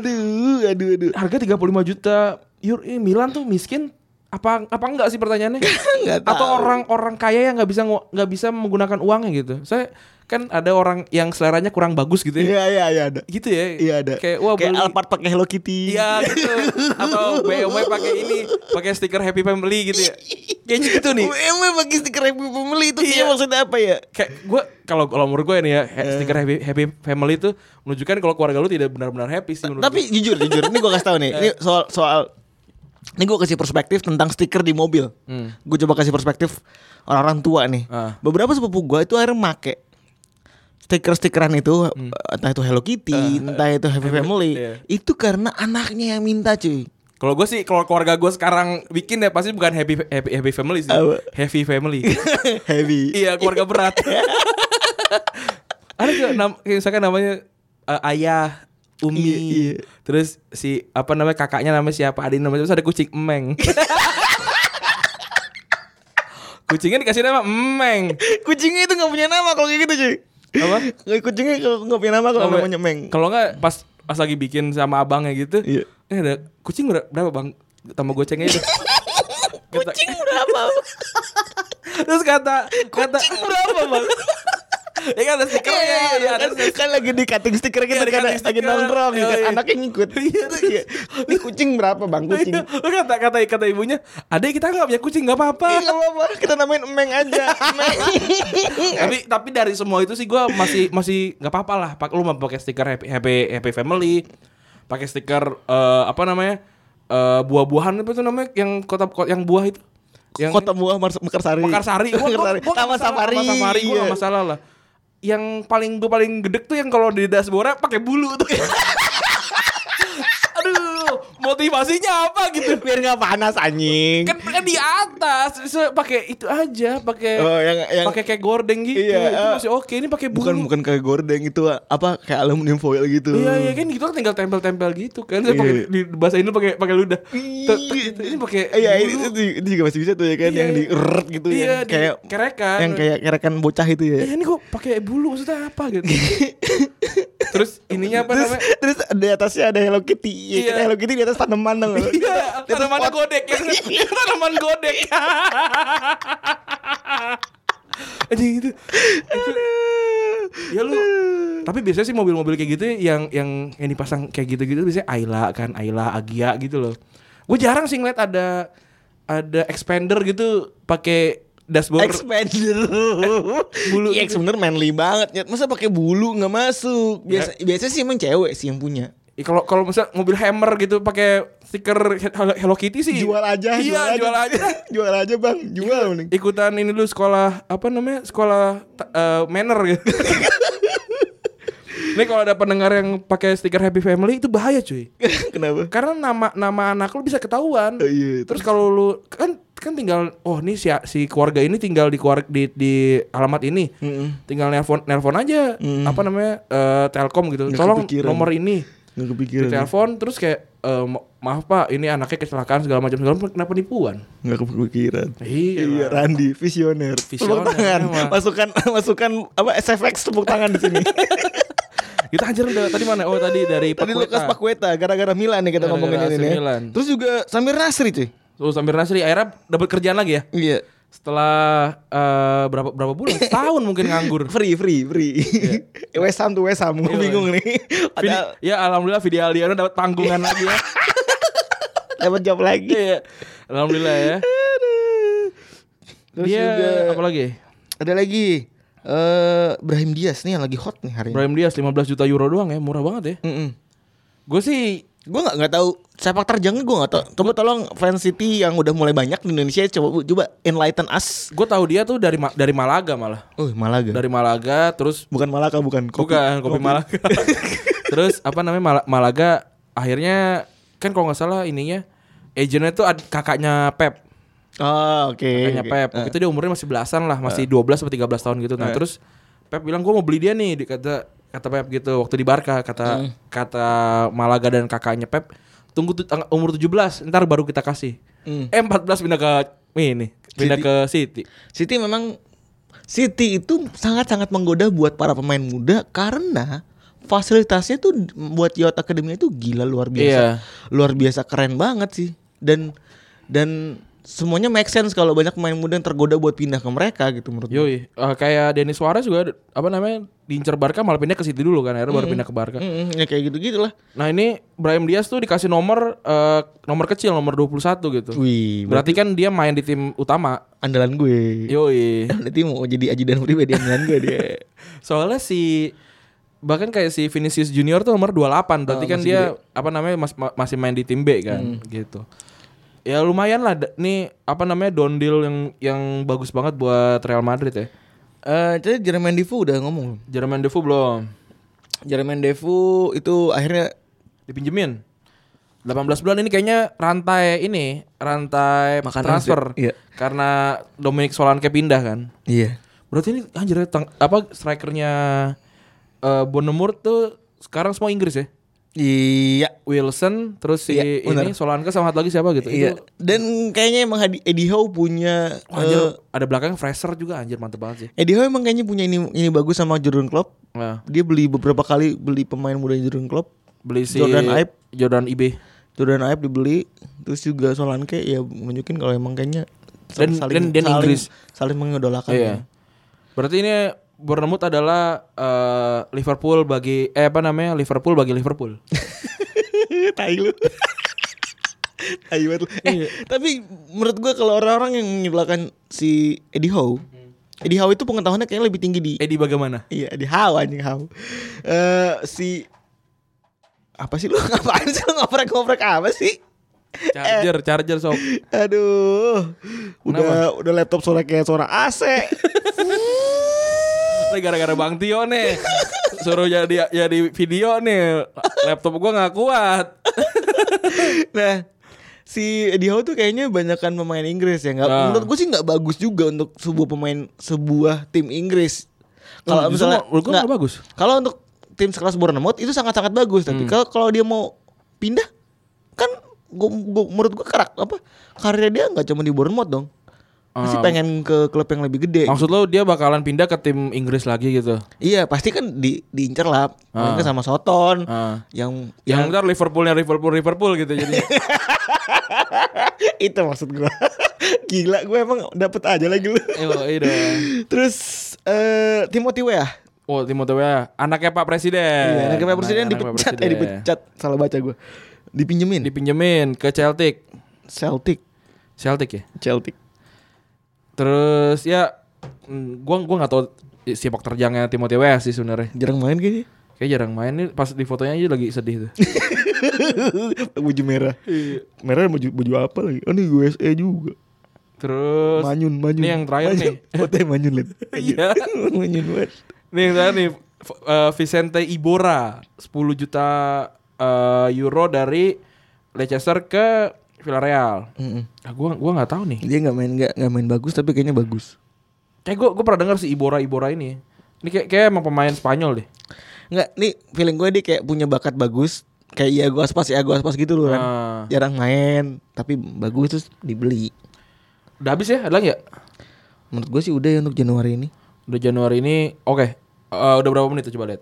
Speaker 3: Aduh, aduh, aduh.
Speaker 2: Harga 35 juta. Yur, eh, Milan tuh miskin apa apa enggak sih pertanyaannya?
Speaker 3: <laughs> Enggak tahu.
Speaker 2: atau orang-orang kaya yang nggak bisa ngo- nggak bisa menggunakan uangnya gitu saya kan ada orang yang seleranya kurang bagus gitu ya
Speaker 3: Iya, iya, iya ada.
Speaker 2: gitu ya
Speaker 3: Iya ada.
Speaker 2: kayak wah
Speaker 3: kayak
Speaker 2: beli
Speaker 3: Alphard pakai Hello Kitty.
Speaker 2: iya gitu
Speaker 3: <laughs>
Speaker 2: atau BMW pakai ini pakai stiker happy family gitu ya kayaknya gitu nih
Speaker 3: Emang pakai stiker Happy Family itu
Speaker 2: Iya.
Speaker 3: kayaknya maksudnya apa ya?
Speaker 2: kayak gue kalau kalau menurut gue ini ya
Speaker 3: Eh.
Speaker 2: he- stiker happy, happy family itu menunjukkan kalau keluarga lu tidak benar-benar happy sih menurut
Speaker 3: Tapi
Speaker 2: gua.
Speaker 3: jujur, jujur, ini gue kasih
Speaker 2: <laughs>
Speaker 3: tahu nih. Ini soal soal ini gue kasih perspektif tentang stiker di mobil.
Speaker 2: Hmm.
Speaker 3: Gue coba kasih perspektif orang-orang tua nih.
Speaker 2: Ah.
Speaker 3: Beberapa sepupu gue itu akhirnya make stiker-stikeran itu
Speaker 2: Hmm.
Speaker 3: entah itu Hello Kitty, entah itu Happy Family,
Speaker 2: Ah. iya.
Speaker 3: itu karena anaknya yang minta
Speaker 2: <laughs>
Speaker 3: cuy.
Speaker 2: kalau gue sih kalau keluarga gue sekarang bikin ya pasti bukan happy happy happy family sih
Speaker 3: Apa?
Speaker 2: happy family
Speaker 3: Heavy.
Speaker 2: Iya keluarga berat. Ada juga nam, kayak misalkan namanya eh, ayah, umi,
Speaker 3: Iya, iya.
Speaker 2: terus si apa namanya kakaknya namanya siapa, adik namanya siapa, terus ada kucing emeng. <laughs> Kucingnya dikasih nama emeng.
Speaker 3: <laughs> Kucingnya itu nggak punya nama kalau kayak gitu cuy.
Speaker 2: Apa?
Speaker 3: Kucingnya kalau nggak punya nama kalau
Speaker 2: Apa?
Speaker 3: Oh, namanya Meng.
Speaker 2: Kalau nggak pas pas lagi bikin sama abangnya gitu,
Speaker 3: Iya.
Speaker 2: eh ada kucing ber- berapa bang? Tambah gocengnya itu.
Speaker 3: Kucing <laughs> berapa?
Speaker 2: terus kata kata
Speaker 3: Kucing berapa bang?
Speaker 2: ya kan ada stikernya,
Speaker 3: Iya,
Speaker 2: ya,
Speaker 3: iya,
Speaker 2: ada
Speaker 3: kan, kan lagi di cutting stiker
Speaker 2: Iya,
Speaker 3: kita
Speaker 2: di
Speaker 3: kan
Speaker 2: cutting
Speaker 3: lagi
Speaker 2: stiker.
Speaker 3: nongkrong ya kan
Speaker 2: Iya, iya.
Speaker 3: anaknya ngikut.
Speaker 2: Iya.
Speaker 3: Iya. Ini kucing berapa bang kucing?
Speaker 2: Iya, lu kata kata kata ibunya, adek kita nggak punya kucing nggak apa-apa.
Speaker 3: Iya nggak apa-apa kita namain emeng aja. Emeng. Iya.
Speaker 2: tapi tapi dari semua itu sih gua masih masih nggak apa-apa lah. Pak lu mau pakai stiker happy happy, happy family, pakai stiker eh, apa namanya eh, buah-buahan apa itu namanya yang kota ko- yang buah itu yang
Speaker 3: Kota Buah Mars- Mekarsari.
Speaker 2: Mekarsari. Gua- gua-
Speaker 3: Mekarsari.
Speaker 2: gua nggak
Speaker 3: Taman
Speaker 2: masalah,
Speaker 3: Safari.
Speaker 2: Taman Safari gua nggak
Speaker 3: iya.
Speaker 2: masalah lah. Yang paling gua paling gedek tuh yang kalau di dashboardnya pakai bulu tuh. <laughs> Aduh, motivasinya apa gitu?
Speaker 3: Biar nggak panas anjing.
Speaker 2: kan kan di atas bisa pakai itu aja pakai
Speaker 3: Oh, yang- yang-
Speaker 2: pakai kayak gorden gitu
Speaker 3: Iya,
Speaker 2: itu
Speaker 3: eh,
Speaker 2: masih oke ini pakai bulu
Speaker 3: Bukan bukan kayak gorden itu apa kayak aluminium foil gitu.
Speaker 2: iya iya kan gitu kan tinggal tempel-tempel gitu kan saya
Speaker 3: Iya.
Speaker 2: pakai di bahasa Indo pakai pakai ludah Tek, tek,
Speaker 3: Iya.
Speaker 2: gitu. ini pakai
Speaker 3: Iya
Speaker 2: bulu.
Speaker 3: itu, itu- itu juga masih bisa tuh ya kan
Speaker 2: Iya,
Speaker 3: yang di
Speaker 2: iya.
Speaker 3: rrrt gitu
Speaker 2: iya,
Speaker 3: ya. Kayak
Speaker 2: kerekan
Speaker 3: yang kayak kerekan bocah itu ya.
Speaker 2: Eh, ini kok pakai bulu maksudnya apa
Speaker 3: <laughs>
Speaker 2: gitu terus ininya Iya, apa
Speaker 3: terus,
Speaker 2: namanya
Speaker 3: terus di atasnya ada Hello Kitty. Ya,
Speaker 2: Iya.
Speaker 3: kan Hello Kitty di atas tanaman dong.
Speaker 2: Iya, tanaman godek <laughs> ya. tanaman godek. Anjing itu. itu. Ya lu. Tapi biasanya sih mobil-mobil kayak gitu yang yang yang dipasang kayak gitu-gitu biasanya Ayla kan, Ayla, Agia gitu loh. Gue jarang sih ngeliat ada ada expander gitu pakai dashboard <laughs>
Speaker 3: Expander. bulu. Iya, Expander manly banget. Nyet. Masa pakai bulu nggak masuk?
Speaker 2: Iya.
Speaker 3: Biasa biasa sih emang cewek sih yang punya.
Speaker 2: Ih, Ya, kalau kalau misal mobil Hammer gitu pakai stiker he- Hello Kitty sih
Speaker 3: Jual aja,
Speaker 2: iya jual aja,
Speaker 3: <laughs>
Speaker 2: Iya.
Speaker 3: jual aja, Bang. Jual mending. <laughs>
Speaker 2: ikutan ini dulu sekolah apa namanya sekolah ta- eh, manner gitu ini kalau ada pendengar yang pakai stiker Happy Family itu bahaya cuy
Speaker 3: Kenapa?
Speaker 2: karena nama nama anak lu bisa ketahuan
Speaker 3: Oh, iya,
Speaker 2: terus kalau lu kan kan tinggal oh nih si si keluarga ini tinggal di keluarga di, di alamat ini tinggal nelpon nelpon aja apa namanya eh, telkom gitu
Speaker 3: Nggak
Speaker 2: tolong
Speaker 3: kepikiran.
Speaker 2: nomor ini
Speaker 3: Nggak kepikiran.
Speaker 2: ditelepon terus kayak eh, ma- maaf pak ini anaknya kecelakaan segala macam segala macam kenapa nipuan
Speaker 3: Nggak kepikiran.
Speaker 2: Iya,
Speaker 3: Iya,
Speaker 2: lah.
Speaker 3: Randi, visioner.
Speaker 2: Visioner,
Speaker 3: Tepuk tangan.
Speaker 2: emang.
Speaker 3: <laughs> Masukan masukan apa SFX tepuk tangan di
Speaker 2: <laughs>
Speaker 3: sini.
Speaker 2: kita anjir udah tadi mana oh tadi dari
Speaker 3: Tadi
Speaker 2: Pakueta.
Speaker 3: Lukas Pakueta gara-gara Milan nih kita
Speaker 2: Gara-gara
Speaker 3: ngomongin
Speaker 2: AC
Speaker 3: ini. ya.
Speaker 2: Milan.
Speaker 3: Terus juga Samir Nasri cuy.
Speaker 2: Terus Samir Nasri akhirnya dapat kerjaan lagi ya
Speaker 3: Iya.
Speaker 2: setelah eh, berapa berapa
Speaker 3: <laughs>
Speaker 2: bulan setahun mungkin nganggur
Speaker 3: Free, free, free. <laughs> West Ham tuh West Ham, Gua
Speaker 2: Iya,
Speaker 3: bingung
Speaker 2: <laughs>
Speaker 3: nih.
Speaker 2: Vidi-
Speaker 3: Padahal
Speaker 2: ya alhamdulillah Vidi Aldiano dapat panggungan lagi
Speaker 3: <laughs>
Speaker 2: ya.
Speaker 3: dapat job lagi.
Speaker 2: Iya. Alhamdulillah ya.
Speaker 3: Aduh. Terus
Speaker 2: Dia
Speaker 3: juga
Speaker 2: apa lagi?
Speaker 3: ada lagi eh Brahim Diaz nih yang lagi hot nih hari ini.
Speaker 2: Brahim Diaz 15 juta euro doang ya, murah banget ya.
Speaker 3: Mm-mm.
Speaker 2: Gue sih
Speaker 3: Gue nggak nggak tahu sepak terjangnya gue nggak tahu. Coba tolong fans City yang udah mulai banyak di Indonesia coba Bu, coba enlighten us.
Speaker 2: gue tahu dia tuh dari Ma- dari Malaga malah.
Speaker 3: Oh Malaga.
Speaker 2: Dari Malaga terus
Speaker 3: bukan Malaka bukan.
Speaker 2: bukan kopi,
Speaker 3: <laughs>
Speaker 2: Malaga. terus apa namanya Mala- Malaga akhirnya kan kalau nggak salah ininya agennya tuh ad- kakaknya Pep.
Speaker 3: Oh, oke.
Speaker 2: Kakaknya
Speaker 3: oke.
Speaker 2: Pep. Waktu itu dia umurnya masih belasan lah, masih 12 atau 13 tahun gitu. Nah, terus Pep bilang gua mau beli dia nih, kata kata Pep gitu. Waktu di Barca kata kata Malaga dan kakaknya Pep, tunggu tu- tang- umur 17, ntar baru kita kasih. Eh 14 pindah ke ini, pindah ke City.
Speaker 3: City memang City itu sangat-sangat menggoda buat para pemain muda karena fasilitasnya tuh buat Yacht Academy itu gila luar biasa.
Speaker 2: Iya.
Speaker 3: Luar biasa keren banget sih. Dan dan semuanya make sense kalau banyak pemain muda yang tergoda buat pindah ke mereka gitu menurut gue.
Speaker 2: Yoi, eh, kayak Denis Suarez juga apa namanya diincer Barca malah pindah ke City dulu kan, akhirnya baru pindah ke Barca.
Speaker 3: Mm-mm, ya kayak gitu-gitulah.
Speaker 2: Nah, ini Brahim Diaz tuh dikasih nomor eh, nomor kecil, nomor 21 gitu.
Speaker 3: Wih,
Speaker 2: Berarti Iya. kan dia main di tim utama.
Speaker 3: andalan gue.
Speaker 2: Yoi.
Speaker 3: Nanti mau jadi ajudan pribadi andalan gue dia.
Speaker 2: Soalnya si bahkan kayak si Vinicius Junior tuh nomor 28 berarti kan dia apa namanya mas- ma- masih main di tim B kan gitu. Ya lumayan lah da- nih apa namanya down deal yang yang bagus banget buat Real Madrid ya.
Speaker 3: Eh, jadi Jermain Defoe udah ngomong belum?
Speaker 2: Jermain Defoe belum
Speaker 3: Jermain Defoe itu akhirnya
Speaker 2: dipinjemin. 18 bulan ini kayaknya rantai ini rantai
Speaker 3: Makan
Speaker 2: transfer
Speaker 3: aja, iya.
Speaker 2: karena Dominic Solanke pindah kan.
Speaker 3: iya.
Speaker 2: Berarti ini anjir tang- apa strikernya eh Bonemur tuh sekarang semua Inggris ya.
Speaker 3: Iya,
Speaker 2: Wilson terus si
Speaker 3: Iya, benar.
Speaker 2: ini Solanke sama satu lagi siapa gitu.
Speaker 3: Iya.
Speaker 2: Itu
Speaker 3: Dan kayaknya emang Hadi- Eddie Howe punya
Speaker 2: wah, anjir,
Speaker 3: eh,
Speaker 2: ada belakang Fraser juga anjir mantep banget sih.
Speaker 3: Eddie Howe emang kayaknya punya ini ini bagus sama Jordan Klopp.
Speaker 2: Nah,
Speaker 3: Dia beli beberapa kali beli pemain muda Jordan Klopp.
Speaker 2: beli si
Speaker 3: Jordan Ibe.
Speaker 2: Jordan Ibe.
Speaker 3: Jordan Ayew dibeli, terus juga Solanke ya menunjukin kalau emang kayaknya sal-
Speaker 2: Dan- dan- dan Inggris.
Speaker 3: saling mengidolakan.
Speaker 2: Iya. Berarti ini Bournemouth adalah eh, Liverpool bagi eh apa namanya? Liverpool bagi
Speaker 3: <laughs>
Speaker 2: Liverpool.
Speaker 3: tai lu. <laughs> tai banget lu. Eh, tapi menurut gua kalau orang-orang yang mengidolakan si Eddie Howe, Eddie Howe itu pengetahuannya kayaknya lebih tinggi di
Speaker 2: Edi bagaimana?
Speaker 3: Iya di how anjing how. Eh si apa sih lu <laughs> ngapain sih lu ngoprek-ngoprek apa sih?
Speaker 2: Charger, charger sob.
Speaker 3: Aduh. Udah udah laptop suara kayak suara AC.
Speaker 2: Ini gara-gara Bang Tio nih. Suruh jadi jadi video nih. Laptop gua nggak kuat.
Speaker 3: <laughs> nah, si Eddie Howe tuh kayaknya banyakan pemain Inggris ya. Nggak,
Speaker 2: Ah.
Speaker 3: menurut gue sih nggak bagus juga untuk sebuah pemain sebuah tim Inggris. Kalau
Speaker 2: Nah, Justru
Speaker 3: misalnya
Speaker 2: menurut gua nggak
Speaker 3: nggak-
Speaker 2: bagus. Hmm.
Speaker 3: Kalau untuk tim sekelas Bournemouth itu sangat-sangat bagus, tapi kalau kalau dia mau pindah kan gua, gua- menurut gua karak apa karirnya dia nggak cuma di Bournemouth dong. Pasti
Speaker 2: Ah.
Speaker 3: pengen ke klub yang lebih gede.
Speaker 2: Maksud lo dia bakalan pindah ke tim Inggris lagi gitu.
Speaker 3: Iya, pasti kan di diincer lah. Mungkin sama Soton
Speaker 2: Ah.
Speaker 3: yang
Speaker 2: Yang ntar Liverpoolnya Liverpool Liverpool gitu jadi.
Speaker 3: <laughs> itu maksud gua. Gila, gue emang dapet aja lagi lu.
Speaker 2: Yoi dong.
Speaker 3: Terus eh Timothy Weah.
Speaker 2: Oh Timothée Weah, anaknya Pak Presiden.
Speaker 3: Iya, anaknya Pak presiden
Speaker 2: Anaknya Pak
Speaker 3: dipecat, eh
Speaker 2: Presiden.
Speaker 3: dipecat, salah baca gua. Dipinjemin
Speaker 2: Dipinjemin ke Celtic.
Speaker 3: Celtic,
Speaker 2: Celtic ya.
Speaker 3: Celtic.
Speaker 2: Terus ya mm, gua gua nggak tahu sepak terjangnya Timothy Weah sih sebenarnya.
Speaker 3: Jarang main kayaknya. <laughs>
Speaker 2: Kayak jarang main nih pas di fotonya aja lagi sedih tuh.
Speaker 3: baju merah.
Speaker 2: Iya.
Speaker 3: Merah baju baju apa lagi? Oh, ini USA juga.
Speaker 2: Terus
Speaker 3: Manyun, manyun.
Speaker 2: Ini yang terakhir
Speaker 3: Manyun.
Speaker 2: nih.
Speaker 3: Fotonya manyun,
Speaker 2: <laughs>
Speaker 3: Lid.
Speaker 2: Iya.
Speaker 3: <laughs> manyun banget.
Speaker 2: Nih yang terakhir nih F- eh, Vicente Ibora 10 juta eh, euro dari Leicester ke Villarreal.
Speaker 3: Mm-mm.
Speaker 2: Ah, gua gua nggak tahu nih.
Speaker 3: Dia nggak main nggak nggak main bagus tapi kayaknya bagus.
Speaker 2: Kayak gua gua pernah dengar si Ibora Ibora ini. Ini kayak kayak emang pemain Spanyol deh.
Speaker 3: Nggak, nih feeling gue dia kayak punya bakat bagus. Kayak Iago Aspas, Iago Aspas gitu loh kan.
Speaker 2: Ah.
Speaker 3: Jarang main, tapi bagus terus dibeli.
Speaker 2: udah habis ya? Ada lagi ya?
Speaker 3: Menurut gue sih udah ya untuk Januari ini.
Speaker 2: Udah Januari ini. Oke. Eh, udah berapa menit tuh coba lihat.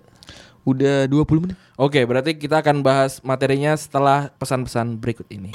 Speaker 3: Udah 20 menit.
Speaker 2: Oke, berarti kita akan bahas materinya setelah pesan-pesan berikut ini.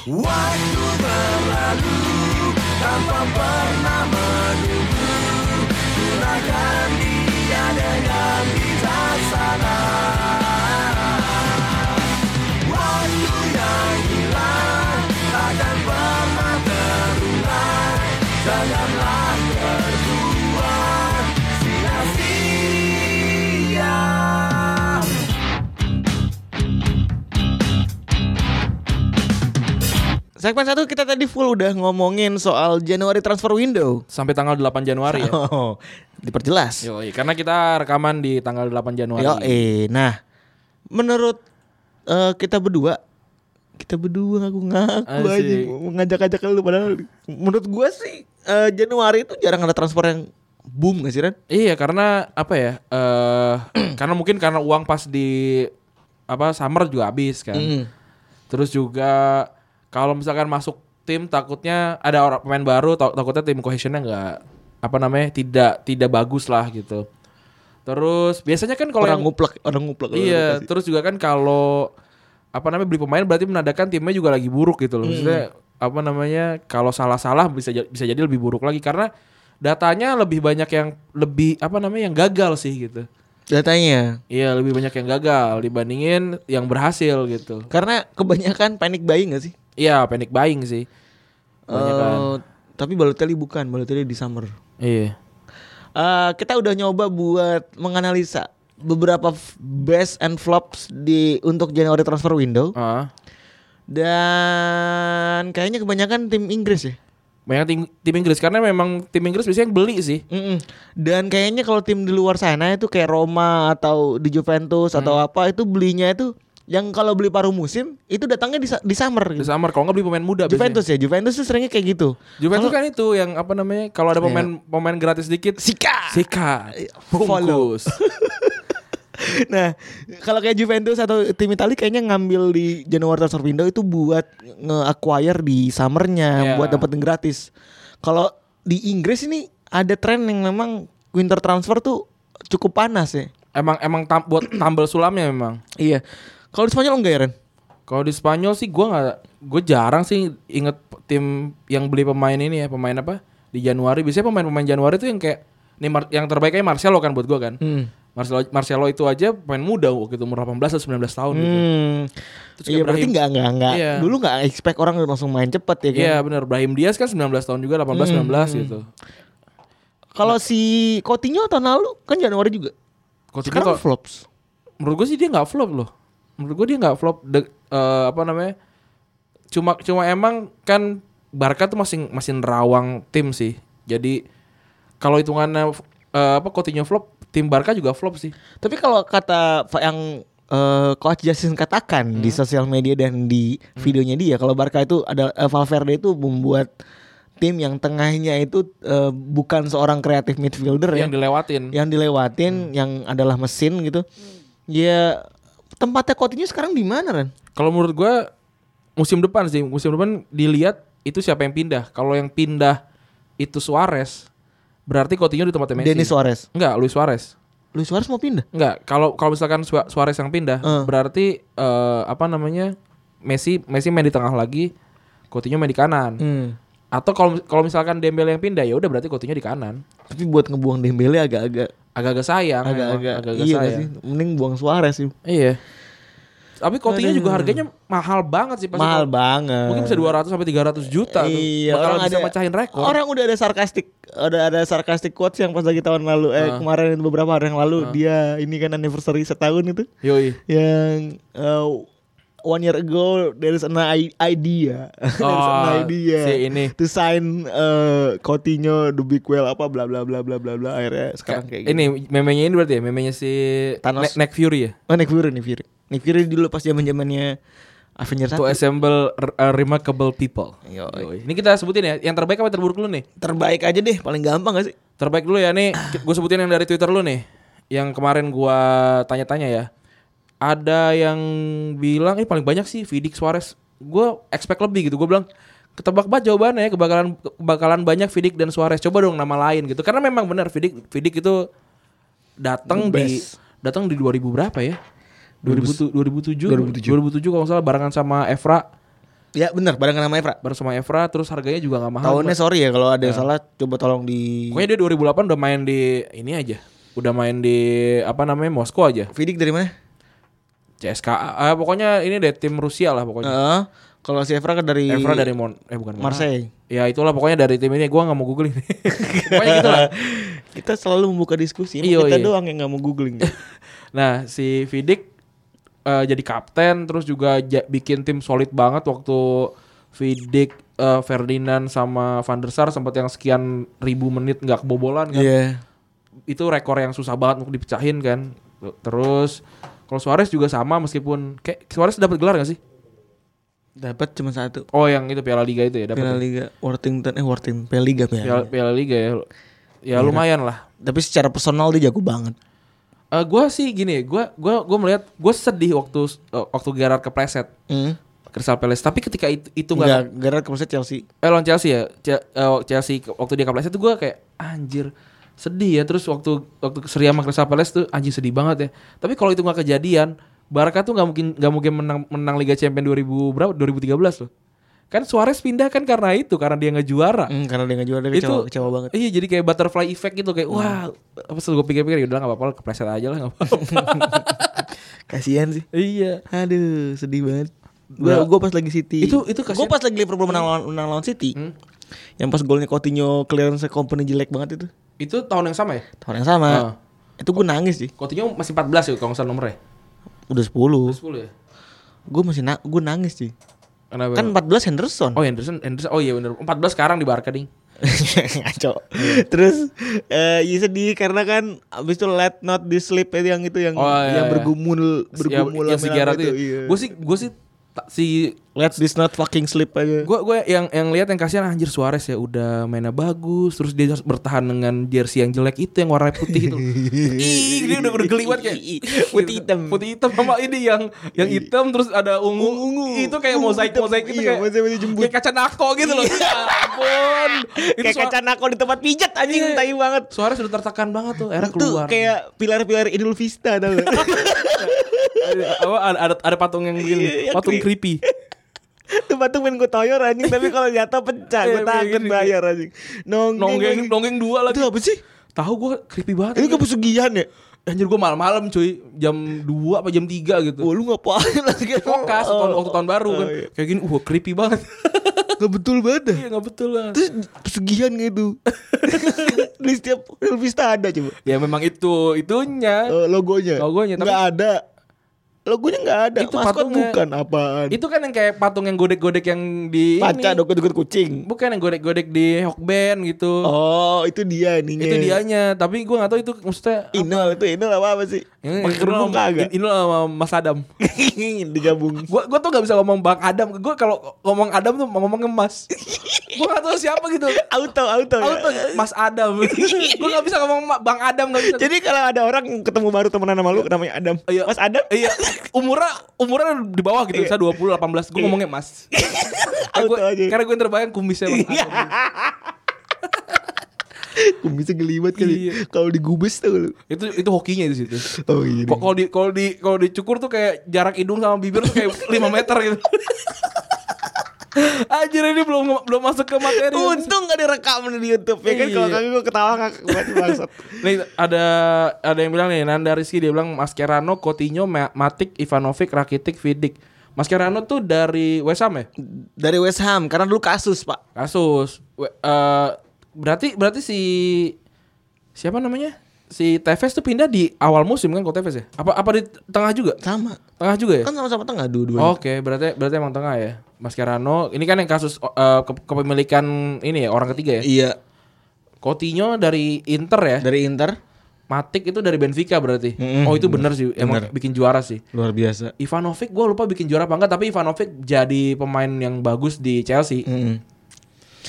Speaker 3: Segmen satu kita tadi full udah ngomongin soal Januari transfer window.
Speaker 2: Sampai tanggal 8 Januari ya.
Speaker 3: <laughs> Oh, diperjelas.
Speaker 2: Yoi, karena kita rekaman di tanggal 8 Januari.
Speaker 3: Yo, eh, nah, menurut eh, kita berdua, kita berdua ngaku ngaku
Speaker 2: Asik.
Speaker 3: aja mau ngajak-ngajak lu padahal menurut gua sih eh, Januari itu jarang ada transfer yang boom gak sih Ren?
Speaker 2: Iya, karena apa ya? Eh <clears throat> karena mungkin karena uang pas di apa summer juga habis kan. Terus juga kalau misalkan masuk tim takutnya ada orang pemain baru ta- takutnya tim cohesionnya nggak apa namanya tidak tidak bagus lah gitu. Terus biasanya kan kalau
Speaker 3: Orang
Speaker 2: yang
Speaker 3: nguplek, orang nguplek.
Speaker 2: Iya, terus juga kan kalau apa namanya beli pemain berarti menandakan timnya juga lagi buruk gitu loh. Maksudnya apa namanya kalau salah-salah bisa ja- bisa jadi lebih buruk lagi karena datanya lebih banyak yang lebih apa namanya yang gagal sih gitu.
Speaker 3: Datanya.
Speaker 2: Iya, lebih banyak yang gagal dibandingin yang berhasil gitu.
Speaker 3: Karena kebanyakan panic buying gak sih?
Speaker 2: Iya, panic buying sih. Kebanyakan.
Speaker 3: Eh, tapi Balotelli bukan, Balotelli di summer.
Speaker 2: Iya.
Speaker 3: Eh, kita udah nyoba buat menganalisa beberapa f- best and flops di untuk Januari transfer window
Speaker 2: Ah.
Speaker 3: dan kayaknya kebanyakan tim Inggris ya.
Speaker 2: Banyak tim, tim Inggris karena memang tim Inggris biasanya yang beli sih.
Speaker 3: Mm-mm. Dan kayaknya kalau tim di luar sana itu kayak Roma atau di Juventus atau
Speaker 2: Mm.
Speaker 3: apa itu belinya itu yang kalau beli paruh musim itu datangnya di, sa- di
Speaker 2: Di
Speaker 3: summer gitu.
Speaker 2: summer kalau nggak beli pemain muda biasanya.
Speaker 3: Juventus ya, Juventus tuh seringnya kayak gitu.
Speaker 2: Juventus kan itu yang apa namanya kalau ada pemain pemain gratis dikit
Speaker 3: Sika.
Speaker 2: Sikat.
Speaker 3: Follow.
Speaker 2: Bungkus.
Speaker 3: Nah, kalau kayak Juventus atau tim Italia kayaknya ngambil di Januari transfer window itu buat nge-acquire di summernya
Speaker 2: Iya.
Speaker 3: buat dapetin gratis. Kalau di Inggris ini ada tren yang memang winter transfer tuh cukup panas ya.
Speaker 2: emang emang tam- buat tambal sulamnya memang.
Speaker 3: Iya. Kalau di Spanyol enggak ya, Ren?
Speaker 2: Kalau di Spanyol sih gua nggak gue jarang sih inget tim yang beli pemain ini ya, pemain apa? Di Januari biasanya pemain-pemain Januari tuh yang kayak nih Mar- yang terbaiknya Marcelo kan buat gua kan.
Speaker 3: Hmm.
Speaker 2: Marcelo Marcelo itu aja pemain muda waktu itu umur 18 atau 19 tahun gitu.
Speaker 3: Hmm.
Speaker 2: Terus
Speaker 3: iya
Speaker 2: kayak
Speaker 3: berarti
Speaker 2: Brahim-
Speaker 3: enggak enggak enggak.
Speaker 2: Iya.
Speaker 3: Dulu enggak expect orang langsung main cepet ya kan.
Speaker 2: Iya benar Brahim Diaz kan 19 tahun juga 18
Speaker 3: Hmm.
Speaker 2: 19 gitu.
Speaker 3: Kalau si Coutinho tahun lalu kan Januari juga.
Speaker 2: Coutinho
Speaker 3: Sekarang
Speaker 2: kalau-
Speaker 3: flops.
Speaker 2: menurut gue sih dia nggak flop loh menurut gue dia nggak flop De- eh, apa namanya cuma cuma emang kan Barca tuh masih masih nerawang tim sih jadi kalau hitungannya eh, apa Coutinho flop tim Barca juga flop sih
Speaker 3: Tapi kalau kata fa- yang eh, Coach Justin katakan di sosial media dan di videonya dia kalau Barca itu ada eh, Valverde itu membuat tim yang tengahnya itu eh, bukan seorang kreatif midfielder
Speaker 2: yang
Speaker 3: yang, Hmm. ya,
Speaker 2: dilewatin
Speaker 3: yang dilewatin yang adalah mesin gitu. Ya tempatnya Coutinho sekarang di mana Ren?
Speaker 2: kalau menurut gue musim depan sih musim depan dilihat itu siapa yang pindah kalau yang pindah itu Suarez berarti Coutinho di tempatnya Messi
Speaker 3: Denis Suarez.
Speaker 2: enggak Luis Suarez
Speaker 3: Luis Suarez mau pindah.
Speaker 2: Enggak, kalau kalau misalkan Sua- Suarez yang pindah,
Speaker 3: Eh.
Speaker 2: berarti eh, apa namanya? Messi Messi main di tengah lagi, Coutinho main di kanan.
Speaker 3: Hmm.
Speaker 2: Atau kalau kalau misalkan Dembele yang pindah, ya udah berarti Coutinho di kanan.
Speaker 3: Tapi buat ngebuang Dembele agak-agak
Speaker 2: Agak-agak sayang.
Speaker 3: agak-agak
Speaker 2: memang. Agak-agag
Speaker 3: iya gak
Speaker 2: sayang.
Speaker 3: sih. Mending buang Suarez sih.
Speaker 2: Iya. Tapi Coutinho
Speaker 3: Aduh.
Speaker 2: juga harganya mahal banget sih pasti.
Speaker 3: Mahal banget.
Speaker 2: Mungkin bisa 200 sampai 300 juta tuh.
Speaker 3: Iya,
Speaker 2: Bakal
Speaker 3: orang
Speaker 2: bisa
Speaker 3: ada-
Speaker 2: mecahin rekor.
Speaker 3: Orang udah ada sarkastik ada ada sarcastic quotes yang pas lagi tahun lalu eh
Speaker 2: Ah.
Speaker 3: kemarin beberapa hari yang lalu dia ini kan anniversary setahun itu
Speaker 2: Yoi.
Speaker 3: yang uh, one year ago there is an i- idea <laughs> there is an
Speaker 2: Oh,
Speaker 3: idea
Speaker 2: si ini.
Speaker 3: to sign uh, Coutinho the big well apa bla bla bla bla bla bla akhirnya sekarang kayak
Speaker 2: ini
Speaker 3: gini.
Speaker 2: memenya ini berarti ya memenya si Nick,
Speaker 3: Thanos.
Speaker 2: Nick Fury ya
Speaker 3: oh Nick Fury Nick Fury Nick Fury dulu pas zaman zamannya Avengers
Speaker 2: to
Speaker 3: 1
Speaker 2: assemble r- uh, remarkable people
Speaker 3: Yoi.
Speaker 2: Yoi. ini kita sebutin ya yang terbaik apa yang terburuk lu nih
Speaker 3: terbaik aja deh paling gampang gak sih
Speaker 2: Terbaik dulu ya nih, gue sebutin yang dari Twitter lu nih, yang kemarin gua tanya-tanya ya. Ada yang bilang, eh paling banyak sih Vidik Suarez. Gue expect lebih gitu. Gue bilang ketebak banget jawabannya ya kebakalan kebakalan banyak Vidik dan Suarez. Coba dong nama lain gitu. Karena memang benar Vidik Vidik itu datang
Speaker 3: The
Speaker 2: di
Speaker 3: best.
Speaker 2: datang di 2000 berapa ya? 2000, 2007 2007 kalau nggak salah barengan sama Evra
Speaker 3: ya benar barengan sama Evra
Speaker 2: bareng sama Evra terus harganya juga nggak mahal
Speaker 3: tahunnya sorry ya kalau ada yang salah coba tolong di
Speaker 2: Pokoknya dia 2008 udah main di ini aja. Udah main di apa namanya Moskow aja.
Speaker 3: Vidik dari mana?
Speaker 2: CSKA. Eh, pokoknya ini deh tim Rusia lah pokoknya.
Speaker 3: Heeh. kalau si Oh, iya. Evra kan dari
Speaker 2: Evra dari Mon eh bukan Mon-
Speaker 3: Marseille.
Speaker 2: Ya itulah pokoknya dari tim ini gua nggak mau googling. <laughs> pokoknya gitu lah.
Speaker 3: <laughs> kita selalu membuka diskusi. Emang
Speaker 2: Iya,
Speaker 3: kita
Speaker 2: iya.
Speaker 3: doang yang nggak mau googling.
Speaker 2: Nah, si Vidik eh, jadi kapten terus juga ja- bikin tim solid banget waktu Vidik eh, Ferdinand sama Van der Sar sempat yang sekian ribu menit nggak kebobolan kan.
Speaker 3: <laughs> Iya.
Speaker 2: itu rekor yang susah banget untuk dipecahin kan. Terus kalau Suarez juga sama meskipun kayak Suarez dapat gelar gak sih?
Speaker 3: Dapat cuma satu.
Speaker 2: Oh yang itu Piala Liga itu ya dapat.
Speaker 3: Piala
Speaker 2: ya?
Speaker 3: Liga Worthington eh Worthington Piala Liga Piala.
Speaker 2: Piala, Piala Liga ya.
Speaker 3: Iya.
Speaker 2: Ya lumayan lah.
Speaker 3: Tapi secara personal dia jago banget.
Speaker 2: Eh gua sih gini, gua gua gua melihat gue sedih waktu eh, waktu Gerrard kepleset
Speaker 3: Hmm.
Speaker 2: Crystal Palace. Tapi ketika itu itu enggak
Speaker 3: Enggak gara kemarin Chelsea.
Speaker 2: eh lawan Chelsea ya Ce- eh, Chelsea ke- waktu dia kepleset tuh gue kayak anjir sedih ya terus waktu waktu seri sama Crystal Palace tuh anjir sedih banget ya tapi kalau itu nggak kejadian Barca tuh nggak mungkin nggak mungkin menang menang Liga Champions 2000 berapa 2013 loh kan Suarez pindah kan karena itu karena dia nggak juara
Speaker 3: Hmm, karena dia nggak juara dia kecewa,
Speaker 2: itu
Speaker 3: kecewa banget.
Speaker 2: iya jadi kayak butterfly effect gitu kayak wah apa sih gue pikir-pikir ya udah nggak apa-apa lah, kepleset aja lah nggak apa-apa
Speaker 3: <laughs> Kasihan sih.
Speaker 2: iya
Speaker 3: Aduh, sedih banget. Gua,
Speaker 2: Nah,
Speaker 3: gua pas lagi City.
Speaker 2: itu- itu kasihan. Hmm.
Speaker 3: Gua pas lagi Liverpool menang lawan, menang lawan City. Yang pas golnya Coutinho clearance company jelek banget itu.
Speaker 2: itu tahun yang sama ya
Speaker 3: Tahun yang sama.
Speaker 2: Ah.
Speaker 3: Itu gue nangis sih.
Speaker 2: Coutinho masih 14 ya kalau nggak salah nomornya
Speaker 3: Udah 10.
Speaker 2: 10 ya
Speaker 3: Gue masih na gue nangis sih.
Speaker 2: Kenapa?
Speaker 3: Kan 14 Henderson.
Speaker 2: Oh iya. Henderson, Henderson. Oh iya bener. 14 sekarang di Barca ding.
Speaker 3: <laughs> Ngaco. Terus eh ya sedih karena kan abis itu let not this sleep itu yang itu yang
Speaker 2: Oh, iya,
Speaker 3: yang
Speaker 2: iya.
Speaker 3: bergumul
Speaker 2: yang
Speaker 3: bergumul
Speaker 2: si
Speaker 3: lama-lama
Speaker 2: Gerrard
Speaker 3: itu.
Speaker 2: itu.
Speaker 3: iya.
Speaker 2: Gue sih gue sih ta- si
Speaker 3: let this not fucking sleep aja.
Speaker 2: gue gue yang yang lihat yang kasihan anjir Suarez ya udah mainnya bagus terus dia harus bertahan dengan jersey yang jelek itu yang warna putih
Speaker 3: <laughs>
Speaker 2: itu. Ih, dia udah udah geliwat kayak
Speaker 3: Putih hitam.
Speaker 2: Putih hitam sama ini yang yang hitam terus ada ungu.
Speaker 3: Iya. Ungu.
Speaker 2: Itu kayak
Speaker 3: Ungu
Speaker 2: mozaik
Speaker 3: hitam.
Speaker 2: mozaik itu
Speaker 3: Iya,
Speaker 2: kayak
Speaker 3: mozaik-mozaik jembut.
Speaker 2: kayak kaca nako gitu loh. ya ampun. Itu
Speaker 3: kayak
Speaker 2: Suarez,
Speaker 3: kaca nako di tempat pijat anjing
Speaker 2: Iya.
Speaker 3: tai banget.
Speaker 2: Suarez udah tertekan banget tuh. Era
Speaker 3: Itu
Speaker 2: keluar.
Speaker 3: kayak pilar-pilar Idul Vista
Speaker 2: <laughs>
Speaker 3: tau gak?
Speaker 2: ada, apa, ada, ada, ada patung yang begini,
Speaker 3: Iya,
Speaker 2: patung creepy.
Speaker 3: Itu batu main gue toyor anjing tapi kalau jatuh pecah
Speaker 2: Iya,
Speaker 3: gue
Speaker 2: iya,
Speaker 3: takut
Speaker 2: gini.
Speaker 3: bayar anjing.
Speaker 2: Nonggeng
Speaker 3: Nonggeng. lagi.
Speaker 2: nonggeng dua lagi.
Speaker 3: Itu apa sih?
Speaker 2: Tahu gua creepy banget.
Speaker 3: Itu kepesugihan ya?
Speaker 2: Anjir gua malam-malam cuy, jam 2 apa jam 3 gitu.
Speaker 3: Wah lu ngapain lagi?
Speaker 2: Kokas tahun waktu tahun baru
Speaker 3: Oh,
Speaker 2: kan.
Speaker 3: iya.
Speaker 2: Kayak gini, wah creepy banget. <laughs>
Speaker 3: Gak betul banget dah.
Speaker 2: Iya, nggak betul lah.
Speaker 3: Terus pesugihan gak
Speaker 2: <laughs>
Speaker 3: itu? Di setiap Real Vista ada coba
Speaker 2: Ya memang itu itunya.
Speaker 3: Eh, Logonya
Speaker 2: Logonya, tapi-
Speaker 3: Gak ada Logonya gak ada
Speaker 2: Itu
Speaker 3: Maskot
Speaker 2: patungnya.
Speaker 3: bukan apaan
Speaker 2: Itu kan yang kayak patung yang godek-godek yang di
Speaker 3: Paca
Speaker 2: ini.
Speaker 3: doket-doket kucing
Speaker 2: Bukan yang godek-godek di Hokben gitu.
Speaker 3: Oh itu dia ininya
Speaker 2: Itu dianya, tapi gua nggak tahu itu maksudnya
Speaker 3: Inul itu Inul apa, apa sih Pakai kerudung kagak
Speaker 2: Ini sama Mas Adam.
Speaker 3: <laughs> Digabung
Speaker 2: Gua gua tuh nggak bisa ngomong Bang Adam. Gua kalau ngomong Adam tuh ngomong
Speaker 3: <laughs>
Speaker 2: emas. gua nggak tahu siapa gitu.
Speaker 3: Auto auto, ya.
Speaker 2: Auto Mas
Speaker 3: <laughs>
Speaker 2: Adam. gue gak bisa ngomong Ma- Bang Adam gak bisa.
Speaker 3: Jadi kalau ada orang yang ketemu baru temenan sama lu Namanya Adam
Speaker 2: Iya.
Speaker 3: Mas Adam Iya.
Speaker 2: iya, umurnya umurnya di bawah gitu, bisa 20 18. Gue ngomongnya
Speaker 3: <laughs>
Speaker 2: Mas. Karena
Speaker 3: Auto
Speaker 2: gua-
Speaker 3: aja. Iya.
Speaker 2: karena gue yang terbayang kumisnya Mas
Speaker 3: <laughs>
Speaker 2: Adam.
Speaker 3: Kumisnya gelibat kali
Speaker 2: Iya.
Speaker 3: Kalau digubes tau lu
Speaker 2: itu itu hokinya di situ.
Speaker 3: Oh iya
Speaker 2: Kok- Kalau di kalau di kalau dicukur tuh kayak jarak hidung sama bibir tuh kayak 5 meter
Speaker 3: <laughs>
Speaker 2: gitu. Anjir ini belum belum masuk ke materi.
Speaker 3: Untung gak direkam di YouTube ya kan
Speaker 2: Iya.
Speaker 3: kalau kagak gue ketawa ngakak banget
Speaker 2: <laughs>
Speaker 3: bangsat.
Speaker 2: Nih ada ada yang bilang nih Nanda Rizky dia bilang Mascherano, Coutinho, Ma- Matic, Ivanovic, Rakitic, Vidic. Mascherano tuh dari West Ham ya?
Speaker 3: Dari West Ham karena dulu kasus, Pak.
Speaker 2: Kasus. We- eh, Berarti berarti si siapa namanya? Si Tevez tuh pindah di awal musim kan kok Tevez ya? Apa apa di tengah juga?
Speaker 3: Sama.
Speaker 2: Tengah juga ya?
Speaker 3: Kan sama-sama tengah dua-duanya.
Speaker 2: Oke, berarti berarti emang tengah ya. Mascherano, ini kan yang kasus eh, ke- kepemilikan ini ya orang ketiga ya.
Speaker 3: Iya.
Speaker 2: Coutinho dari Inter ya.
Speaker 3: Dari Inter
Speaker 2: Matic itu dari Benfica berarti.
Speaker 3: Mm-mm,
Speaker 2: Oh, itu bener sih emang bikin juara sih.
Speaker 3: luar biasa.
Speaker 2: Ivanovic gue lupa bikin juara apa enggak tapi Ivanovic jadi pemain yang bagus di Chelsea.
Speaker 3: Mm-mm.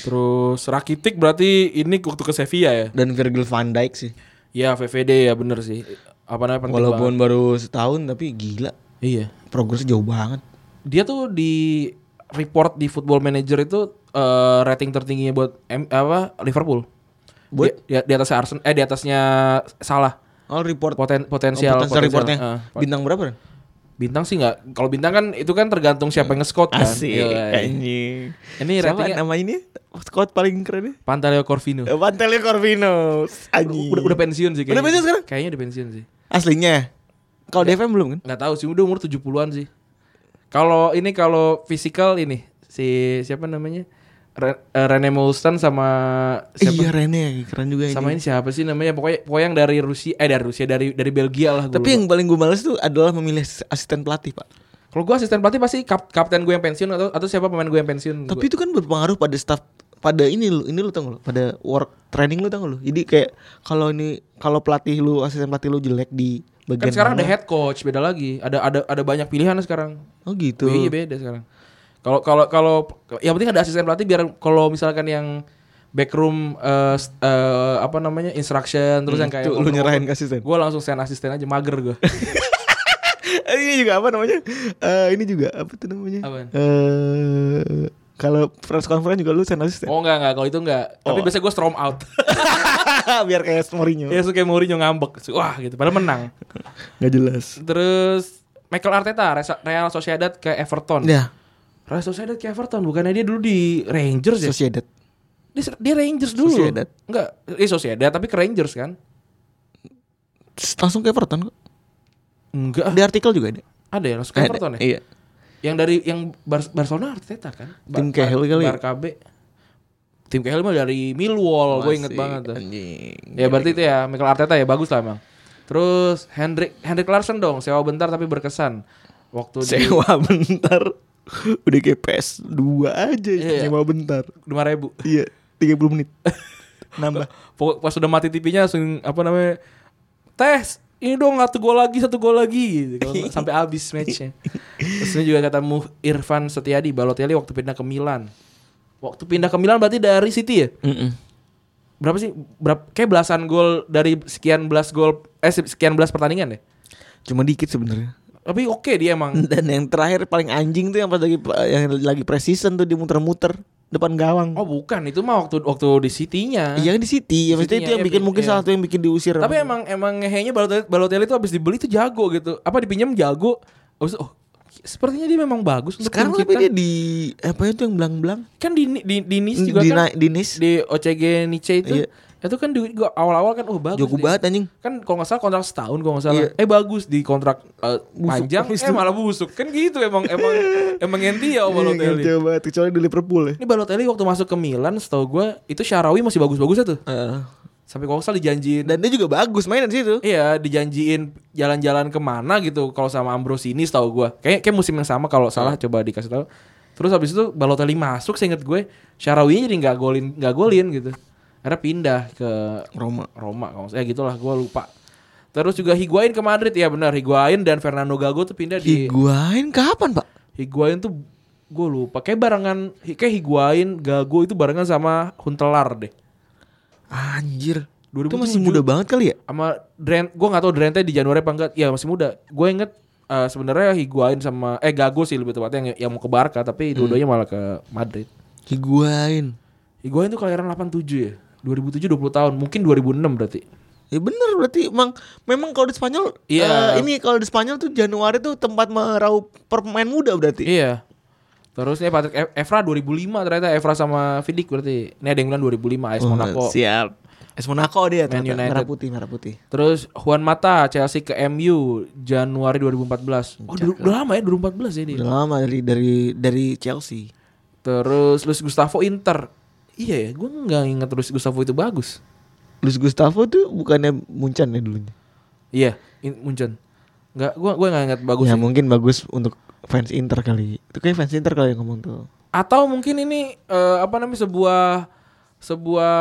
Speaker 2: Terus Rakitic berarti ini waktu ke Sevilla ya.
Speaker 3: Dan Virgil van Dijk sih.
Speaker 2: Ya VVD ya bener sih. Apa namanya penting banget.
Speaker 3: Walaupun baru setahun tapi gila.
Speaker 2: Iya.
Speaker 3: Progresnya jauh banget.
Speaker 2: Dia tuh di report di Football Manager itu eh, rating tertingginya buat M- apa Liverpool.
Speaker 3: Buat?
Speaker 2: di, ya, di atasnya Arsenal eh di atasnya salah.
Speaker 3: All report.
Speaker 2: Poten, Oh, potensial,
Speaker 3: Oh, potensial reportnya.
Speaker 2: eh, pot-
Speaker 3: Bintang berapa? Ren?
Speaker 2: bintang sih nggak. Kalau bintang kan itu kan tergantung siapa yang nge-scout kan. Iya, iya.
Speaker 3: Anjing.
Speaker 2: Ini
Speaker 3: Siapa
Speaker 2: ratingnya
Speaker 3: nama ini? Squad paling keren ya?
Speaker 2: Pantaleo Corvino.
Speaker 3: Pantelio Corvino. Anjing.
Speaker 2: udah, udah pensiun sih kayaknya.
Speaker 3: Udah pensiun sekarang?
Speaker 2: Kayaknya udah pensiun sih.
Speaker 3: Aslinya. Kalau DFM belum kan?
Speaker 2: Nggak tahu sih, udah umur 70-an sih. Kalau ini kalau physical ini si siapa namanya? Re, eh, Rene Molstan sama
Speaker 3: Iya
Speaker 2: siapa?
Speaker 3: Rene keren juga
Speaker 2: sama ini siapa sih namanya? Pokoknya pokoknya yang dari Rusia eh dari Rusia dari dari Belgia lah gua
Speaker 3: Tapi
Speaker 2: lupa.
Speaker 3: yang paling gue males tuh adalah memilih asisten pelatih pak.
Speaker 2: kalau gua asisten pelatih pasti kap, kapten gue yang pensiun atau atau siapa pemain gue yang pensiun.
Speaker 3: Tapi itu kan berpengaruh pada staff pada ini lu ini lu tau gak lu pada work training lu tau gak lu jadi kayak kalau ini kalau pelatih lu asisten pelatih lu jelek
Speaker 2: Gua.
Speaker 3: di
Speaker 2: kan
Speaker 3: bagian
Speaker 2: sekarang ada
Speaker 3: mana-
Speaker 2: head coach beda lagi. Ada ada ada banyak pilihan sekarang.
Speaker 3: oh gitu
Speaker 2: Iya beda sekarang. Kalau kalau kalau yang penting ada asisten pelatih biar kalau misalkan yang backroom eh, s- eh, apa namanya instruction terus yang kayak
Speaker 3: Tuh, Hmm, lu nyerahin ke asisten
Speaker 2: Gue langsung send asisten aja mager
Speaker 3: <laughs>
Speaker 2: gue.
Speaker 3: Eh, ini juga apa namanya Eh, ini juga apa tuh namanya
Speaker 2: Apaan?
Speaker 3: Eh, kalau press conference juga lu sen asisten
Speaker 2: oh enggak enggak kalau itu enggak. Tapi
Speaker 3: Oh.
Speaker 2: biasanya gue storm out.
Speaker 3: <laughs> biar kayak Mourinho
Speaker 2: ya suka kayak Mourinho ngambek. Wah gitu padahal menang.
Speaker 3: nggak jelas
Speaker 2: Terus Michael Arteta Resa- Real Sociedad ke Everton.
Speaker 3: ya
Speaker 2: Real Sociedad ke Everton bukannya dia dulu di Rangers ya?
Speaker 3: Sociedad
Speaker 2: Dia, dia Rangers dulu.
Speaker 3: Sociedad.
Speaker 2: Enggak, eh Sociedad tapi ke Rangers kan?
Speaker 3: langsung ke Everton kok
Speaker 2: Enggak.
Speaker 3: di artikel juga ada
Speaker 2: Ada ya langsung ke Everton ya?
Speaker 3: iya
Speaker 2: Yang dari yang Bar- Barcelona Arteta kan?
Speaker 3: Tim Cahill kali ya?
Speaker 2: Bar KB. Tim Cahill mah dari Millwall, gue inget
Speaker 3: Masih,
Speaker 2: Oh, banget tuh.
Speaker 3: anjing.
Speaker 2: Ya berarti itu ya Michael Arteta ya bagus lah emang. Terus Hendrik Hendrik Larsen dong sewa bentar tapi berkesan. Waktu di
Speaker 3: sewa <laughs> bentar udah kayak PS2 aja
Speaker 2: Iya.
Speaker 3: sewa bentar
Speaker 2: lima ribu.
Speaker 3: iya 30 <laughs> menit nambah
Speaker 2: Pokok pas udah mati TV-nya langsung apa namanya tes ini dong satu gol lagi satu gol lagi gitu. Kalau nggak, sampai habis matchnya. Terus ini juga ketemu Irfan Setiadi Balotelli waktu pindah ke Milan. Waktu pindah ke Milan berarti dari City ya? Berapa sih? Berapa kayak belasan gol dari sekian belas gol eh sekian belas pertandingan deh.
Speaker 3: cuma dikit sebenarnya
Speaker 2: Tapi oke dia emang.
Speaker 3: dan yang terakhir paling anjing tuh yang pas lagi yang lagi precision tuh dia muter-muter depan gawang
Speaker 2: Oh bukan itu mah waktu waktu di City-nya.
Speaker 3: Hmm. iya kan di City ya maksudnya itu
Speaker 2: City-nya,
Speaker 3: yang
Speaker 2: iya,
Speaker 3: bikin mungkin
Speaker 2: iya.
Speaker 3: salah satu yang bikin diusir
Speaker 2: Tapi emang emang ngehenya Balotelli, Balotelli itu habis dibeli tuh jago gitu. Apa dipinjam jago. Habis itu, oh sepertinya dia memang bagus untuk
Speaker 3: sekarang
Speaker 2: tim
Speaker 3: tapi
Speaker 2: kita.
Speaker 3: dia di apa itu yang belang-belang
Speaker 2: kan di di, di Nice juga
Speaker 3: di,
Speaker 2: kan
Speaker 3: na- di Nice
Speaker 2: di OCG Nice itu.
Speaker 3: Iya.
Speaker 2: Itu kan di gua awal-awal kan oh bagus.
Speaker 3: jago
Speaker 2: dia.
Speaker 3: banget anjing
Speaker 2: Kan kalau nggak salah kontrak setahun kalau nggak salah.
Speaker 3: Iya.
Speaker 2: Eh bagus di kontrak eh,
Speaker 3: Busuk.
Speaker 2: panjang
Speaker 3: Habis
Speaker 2: eh
Speaker 3: itu.
Speaker 2: malah busuk. Kan gitu emang
Speaker 3: <laughs>
Speaker 2: emang emang enti ya Balotelli.
Speaker 3: Iya, banget kecuali di Liverpool ya
Speaker 2: Ini Balotelli waktu masuk ke Milan setahu gua itu Syarawi masih bagus-bagusnya tuh.
Speaker 3: Heeh.
Speaker 2: Sampai kalau nggak salah dijanjiin
Speaker 3: dan dia juga bagus mainan di situ
Speaker 2: Iya dijanjiin jalan-jalan kemana gitu kalau sama Ambrosini tahu gue kayak kayak musim yang sama kalau salah
Speaker 3: Iya.
Speaker 2: coba dikasih tahu terus habis itu Balotelli masuk seinget gue Syarawi jadi nggak golin nggak golin gitu akhirnya pindah ke
Speaker 3: Roma
Speaker 2: Roma kalau nggak salah. ya gitulah gue lupa terus juga Higuain ke Madrid ya benar Higuain dan Fernando Gago tuh pindah di
Speaker 3: Higuain kapan pak
Speaker 2: Higuain tuh gue lupa kayak barengan kayak Higuain Gago itu barengan sama Huntelar deh
Speaker 3: Anjir.
Speaker 2: 2007.
Speaker 3: Itu masih muda banget kali ya?
Speaker 2: sama Drent gue nggak tahu Drentnya di Januari apa enggak ya masih muda gue inget eh, sebenarnya Higuain sama eh Gago sih lebih tepatnya yang, yang mau ke Barca tapi dua-duanya malah ke Madrid
Speaker 3: Higuain.
Speaker 2: Higuain tuh kelahiran 87 ya 2007 20 tahun mungkin 2006 berarti
Speaker 3: Ya bener berarti emang memang kalau di Spanyol
Speaker 2: Iya.
Speaker 3: eh, ini kalau di Spanyol tuh Januari tuh tempat meraup permain muda berarti.
Speaker 2: iya terusnya Patrick E- Evra 2005 ternyata Evra sama Vidic berarti ini ada yang bilang 2005 AS Monaco
Speaker 3: Oh, Siap. Es Monaco
Speaker 2: Man
Speaker 3: dia ternyata.
Speaker 2: United.
Speaker 3: merah putih merah putih.
Speaker 2: terus Juan Mata Chelsea ke MU Januari 2014 oh udah, udah lama ya
Speaker 3: Iya.
Speaker 2: 2014 ya dia
Speaker 3: Udah lama dari dari dari Chelsea.
Speaker 2: terus Luis Gustavo Inter Iya ya, gue nggak ingat Luis Gustavo itu bagus.
Speaker 3: Luis Gustavo tuh bukannya Muncan ya dulunya.
Speaker 2: Iya, in- Munchen. Nggak, gue gue nggak ingat bagus.
Speaker 3: ya
Speaker 2: sih.
Speaker 3: mungkin bagus untuk fans Inter kali. Itu kayak fans Inter kali yang ngomong tuh.
Speaker 2: Atau mungkin ini eh, apa namanya sebuah sebuah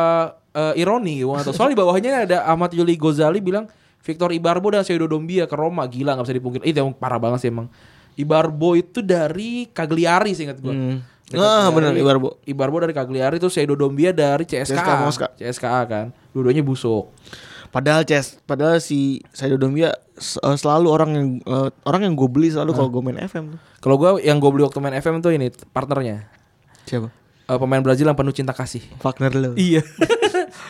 Speaker 2: eh, ironi gue atau soalnya di bawahnya ada Ahmad Yuli Gozali bilang Victor Ibarbo dan Seudo Dombia ke Roma gila nggak bisa dipungkiri. Itu emang parah banget sih emang. Ibarbo itu dari Cagliari sih ingat gue. Dari
Speaker 3: Ah,
Speaker 2: Cagliari.
Speaker 3: benar Ibarbo.
Speaker 2: Ibarbo dari Cagliari terus Seudo Dombia dari
Speaker 3: CSKA
Speaker 2: CSKA.
Speaker 3: Mosca.
Speaker 2: CSKA kan. Dua-duanya busuk.
Speaker 3: Padahal Ces, padahal si Saido Dombia s- eh, selalu orang yang eh, orang yang gue beli selalu kalau gue main FM tuh.
Speaker 2: Kalau gue yang gue beli waktu main FM tuh ini partnernya.
Speaker 3: Siapa?
Speaker 2: Eh, pemain Brazil yang penuh cinta kasih.
Speaker 3: Wagner Love.
Speaker 2: <laughs> Iya.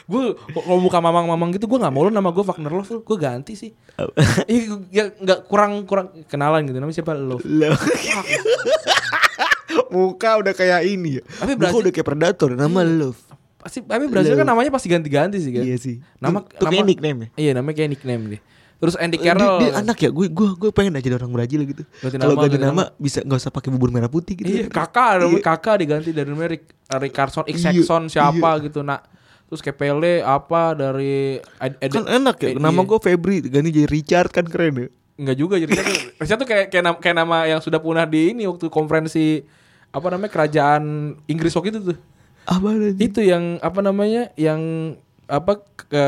Speaker 2: gue kalau muka mamang-mamang gitu gue nggak mau lo nama gue Wagner Love lo, gue ganti sih. <laughs> Iya, gua- ya nggak kurang kurang kenalan gitu namanya siapa lo.
Speaker 3: Love. <laughs> Muka udah kayak ini ya.
Speaker 2: Tapi
Speaker 3: Muka
Speaker 2: Brazil-
Speaker 3: udah kayak predator nama Love.
Speaker 2: Pasti tapi Brazil kan namanya pasti ganti-ganti sih kan.
Speaker 3: Iya sih.
Speaker 2: Nama
Speaker 3: Itu- itu kayak
Speaker 2: nama-
Speaker 3: nickname ya?
Speaker 2: Iya, namanya kayak nickname deh. Terus Andy
Speaker 3: Dia,
Speaker 2: Carroll.
Speaker 3: dia anak ya, gue gue gue pengen aja jadi orang Brazil gitu.
Speaker 2: Ganti
Speaker 3: Kalau
Speaker 2: nama,
Speaker 3: ganti
Speaker 2: ganti
Speaker 3: nama bisa nggak usah pakai bubur merah putih gitu.
Speaker 2: Iya,
Speaker 3: ya.
Speaker 2: kakak namanya kakak diganti dari namanya Rick, uh, Rick Carson, X
Speaker 3: Iya,
Speaker 2: Saxon, siapa gitu nak. Terus kayak Pele apa dari Ad- Ad-
Speaker 3: Kan enak ya.
Speaker 2: Ad-
Speaker 3: Nama
Speaker 2: iya.
Speaker 3: gue Febri ganti jadi Richard kan keren ya.
Speaker 2: Enggak juga jadi Richard tuh- Richard tuh kayak kayak nama, kayak nama yang sudah punah di ini waktu konferensi apa namanya kerajaan Inggris waktu itu tuh.
Speaker 3: Apa aja?
Speaker 2: Itu yang apa namanya yang apa ke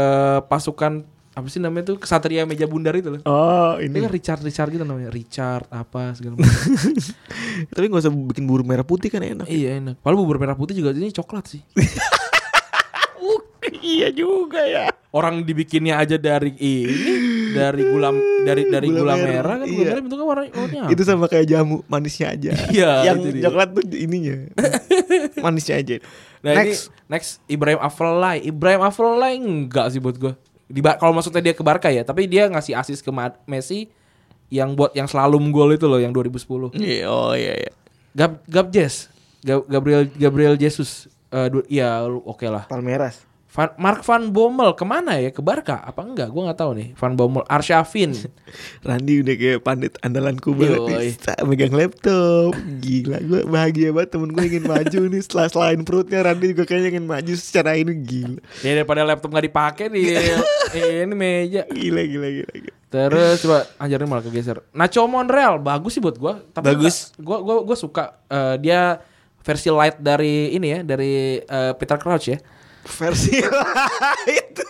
Speaker 2: pasukan apa sih namanya tuh kesatria meja bundar itu loh.
Speaker 3: Oh ini.
Speaker 2: Itu kan Richard Richard gitu namanya Richard apa segala macam.
Speaker 3: <laughs> Tapi nggak usah bikin bubur merah putih kan enak.
Speaker 2: iya enak. Padahal bubur merah putih juga ini coklat sih.
Speaker 3: iya juga ya.
Speaker 2: Orang dibikinnya aja dari ini dari gula dari dari gula,
Speaker 3: Gula merah,
Speaker 2: merah, kan gula
Speaker 3: iya.
Speaker 2: merah bentuknya warna warnanya
Speaker 3: Itu sama kayak jamu manisnya aja.
Speaker 2: Iya, itu
Speaker 3: Yang
Speaker 2: dia.
Speaker 3: coklat tuh
Speaker 2: <laughs>
Speaker 3: ininya. manisnya aja.
Speaker 2: Nah
Speaker 3: Next.
Speaker 2: ini next Ibrahim Afrolai. Ibrahim Afrolai enggak sih buat gue. Di Bar- kalau maksudnya dia ke Barca ya, tapi dia ngasih asis ke Ma- Messi yang buat yang selalu menggol itu loh yang 2010.
Speaker 3: Iya, oh iya iya.
Speaker 2: Gab Gab Jess. Gab- Gabriel Gabriel Jesus. Eh, du- Iya oke lah.
Speaker 3: Palmeras.
Speaker 2: Van- Mark Van Bommel kemana ya ke Barca? Apa enggak? Gue nggak tahu nih. Van Bommel, Arshavin,
Speaker 3: Randy udah kayak pandit andalanku banget
Speaker 2: Yoi.
Speaker 3: nih. Sa- Megang laptop Gila gue bahagia banget temen gue ingin maju nih Setelah selain perutnya Randy juga kayaknya ingin maju secara ini Gila
Speaker 2: ya daripada laptop nggak dipakai nih. eh, ini meja.
Speaker 3: Gila gila gila, gila.
Speaker 2: Terus coba anjirnya malah kegeser. Nacho Monreal bagus sih buat gua, tapi
Speaker 3: Bagus.
Speaker 2: nggak- Gua gua gua suka eh, dia versi light dari ini ya, dari eh, Peter Crouch ya.
Speaker 3: Versi <laughs> itu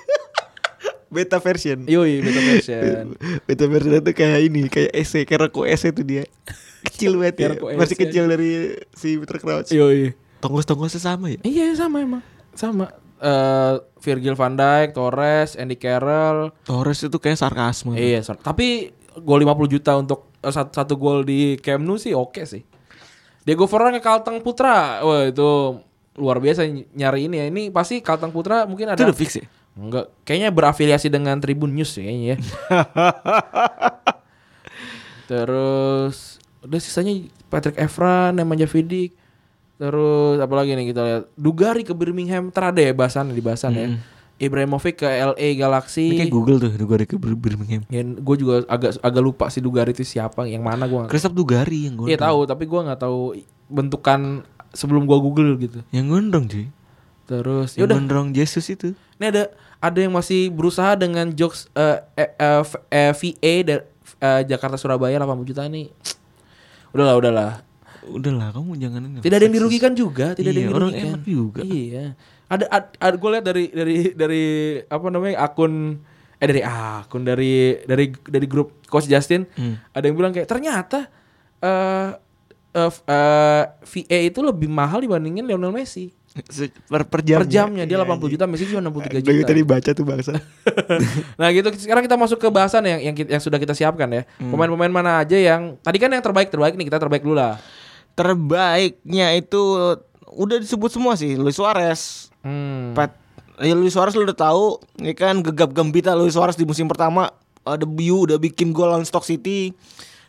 Speaker 3: Beta version
Speaker 2: Yoi, beta
Speaker 3: ya. Iya.
Speaker 2: version.
Speaker 3: Beta version itu kayak ini Kayak ese Kayak rokok ese tuh <laughs> dia Kecil banget ya
Speaker 2: Kayak rokok
Speaker 3: Masih
Speaker 2: ese.
Speaker 3: kecil dari si Peter Crouch
Speaker 2: <laughs> Yoi.
Speaker 3: Tonggos-tonggosnya sama ya
Speaker 2: Iya, sama emang. Sama Eh, Virgil van Dijk, Torres, Andy Carroll.
Speaker 3: Torres itu kayak sarkasme
Speaker 2: Iya, sor- tapi gol 50 juta untuk eh, sat- satu, gol di Camp Nou sih oke sih. Diego Forlan ke Kalteng Putra. Wah, itu luar biasa ny- nyari ini ya. Ini pasti Kalteng Putra mungkin ada
Speaker 3: Itu udah fix ya
Speaker 2: Enggak, kayaknya berafiliasi dengan Tribun News ya
Speaker 3: <laughs>
Speaker 2: kayaknya ya. Terus udah sisanya Patrick Evran, Nemanja Vidic. Terus apa lagi nih kita lihat? Dugari ke Birmingham terada ya bahasan di bahasan ya. Ibrahimovic ke LA Galaxy.
Speaker 3: Hmm. Ini kayak Google tuh Gue ada ke Bir- Birmingham
Speaker 2: Ya, gue juga agak agak lupa sih Dugari itu siapa, yang mana gue nggak
Speaker 3: Kristaps Dugari yang gondrong.
Speaker 2: Iya tahu, tapi gue nggak tahu bentukan sebelum gue Google gitu.
Speaker 3: Yang gondrong cuy.
Speaker 2: Terus
Speaker 3: Yang
Speaker 2: ya udah,
Speaker 3: gondrong Jesus itu.
Speaker 2: ini ada ada yang masih berusaha dengan jokes eh, eh, eh, F- eh, VA dari eh, Jakarta Surabaya 80 juta nih. Udahlah, udahlah.
Speaker 3: Udahlah kamu jangan ini.
Speaker 2: Tidak ada yang dirugikan juga, tidak ada
Speaker 3: Iya,
Speaker 2: yang
Speaker 3: orang
Speaker 2: dirugikan.
Speaker 3: enak juga.
Speaker 2: Iya. Ada, ada, gue lihat dari dari dari apa namanya akun eh dari akun dari dari dari grup Coach Justin
Speaker 3: Hmm.
Speaker 2: ada yang bilang kayak ternyata eh eh, eh, VA itu lebih mahal dibandingin Lionel Messi.
Speaker 3: <laughs> Se- Per, per jamnya.
Speaker 2: Per jamnya dia 80
Speaker 3: Iya, anjing.
Speaker 2: juta, Messi cuma 63
Speaker 3: Dari
Speaker 2: juta.
Speaker 3: tadi baca tuh <laughs> bangsa.
Speaker 2: <laughs> nah gitu sekarang kita masuk ke bahasan yang yang, kita- yang sudah kita siapkan ya
Speaker 3: Hmm.
Speaker 2: pemain-pemain mana aja yang tadi kan yang terbaik terbaik nih kita terbaik dulu lah
Speaker 3: Terbaiknya itu udah disebut semua sih. Luis Suarez.
Speaker 2: hmm.
Speaker 3: Pat, ya Luis Suarez lu udah tahu, ya kan gegap gempita Luis Suarez di musim pertama uh, debut udah bikin gol lawan Stock City.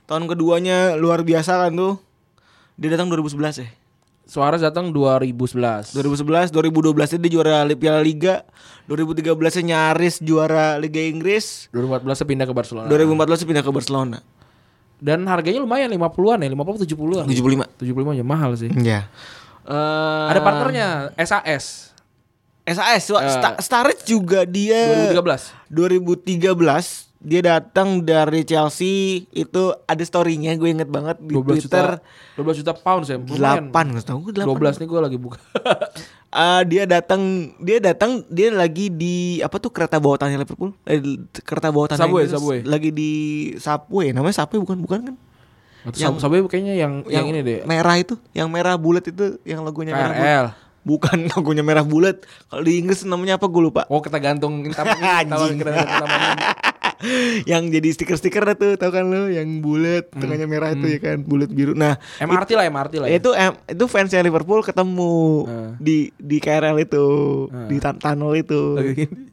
Speaker 3: Tahun keduanya luar biasa kan tuh. Dia datang 2011 ya.
Speaker 2: Suarez datang 2011
Speaker 3: 2011, 2012 dia juara li- Piala Liga, 2013 nya nyaris juara Liga Inggris,
Speaker 2: 2014 pindah ke Barcelona
Speaker 3: 2014 pindah ke Barcelona.
Speaker 2: dan harganya lumayan 50-an ya 50 70-an
Speaker 3: 75.
Speaker 2: 75 aja mahal sih
Speaker 3: Ya.
Speaker 2: Iya. Ada partnernya SAS
Speaker 3: SAS Wak.
Speaker 2: Eh.
Speaker 3: Sta- Sturridge juga dia
Speaker 2: 2013.
Speaker 3: 2013 dia datang dari Chelsea itu ada storynya gue inget banget di
Speaker 2: 12
Speaker 3: Twitter
Speaker 2: juta 12 juta pound ya. Lumayan.
Speaker 3: 8 nggak tahu gue 8
Speaker 2: 12 nih gue lagi
Speaker 3: <laughs>
Speaker 2: buka.
Speaker 3: Ah, dia datang dia datang dia lagi di apa tuh kereta bawah tanah Liverpool eh, kereta bawah tanah
Speaker 2: Subway,
Speaker 3: Inggris.
Speaker 2: Subway.
Speaker 3: lagi di subway namanya subway bukan bukan kan
Speaker 2: Yang sampai kayaknya yang yang, ini deh.
Speaker 3: merah itu yang merah bulat itu yang logonya merah bulat.
Speaker 2: KRL.
Speaker 3: bukan <laughs> logonya merah bulat kalau di Inggris namanya apa gue lupa
Speaker 2: Oh kita gantung kita tawarin
Speaker 3: <laughs> Anjing.
Speaker 2: kita gantung tamannya.
Speaker 3: yang jadi stiker-stiker dah tuh tau kan lo yang bulat tengahnya merah
Speaker 2: Hmm.
Speaker 3: itu ya kan bulat biru nah
Speaker 2: MRT lah MRT lah. ya.
Speaker 3: itu em, itu fansnya Liverpool ketemu
Speaker 2: Ah.
Speaker 3: di di KRL itu di tan- tunnel itu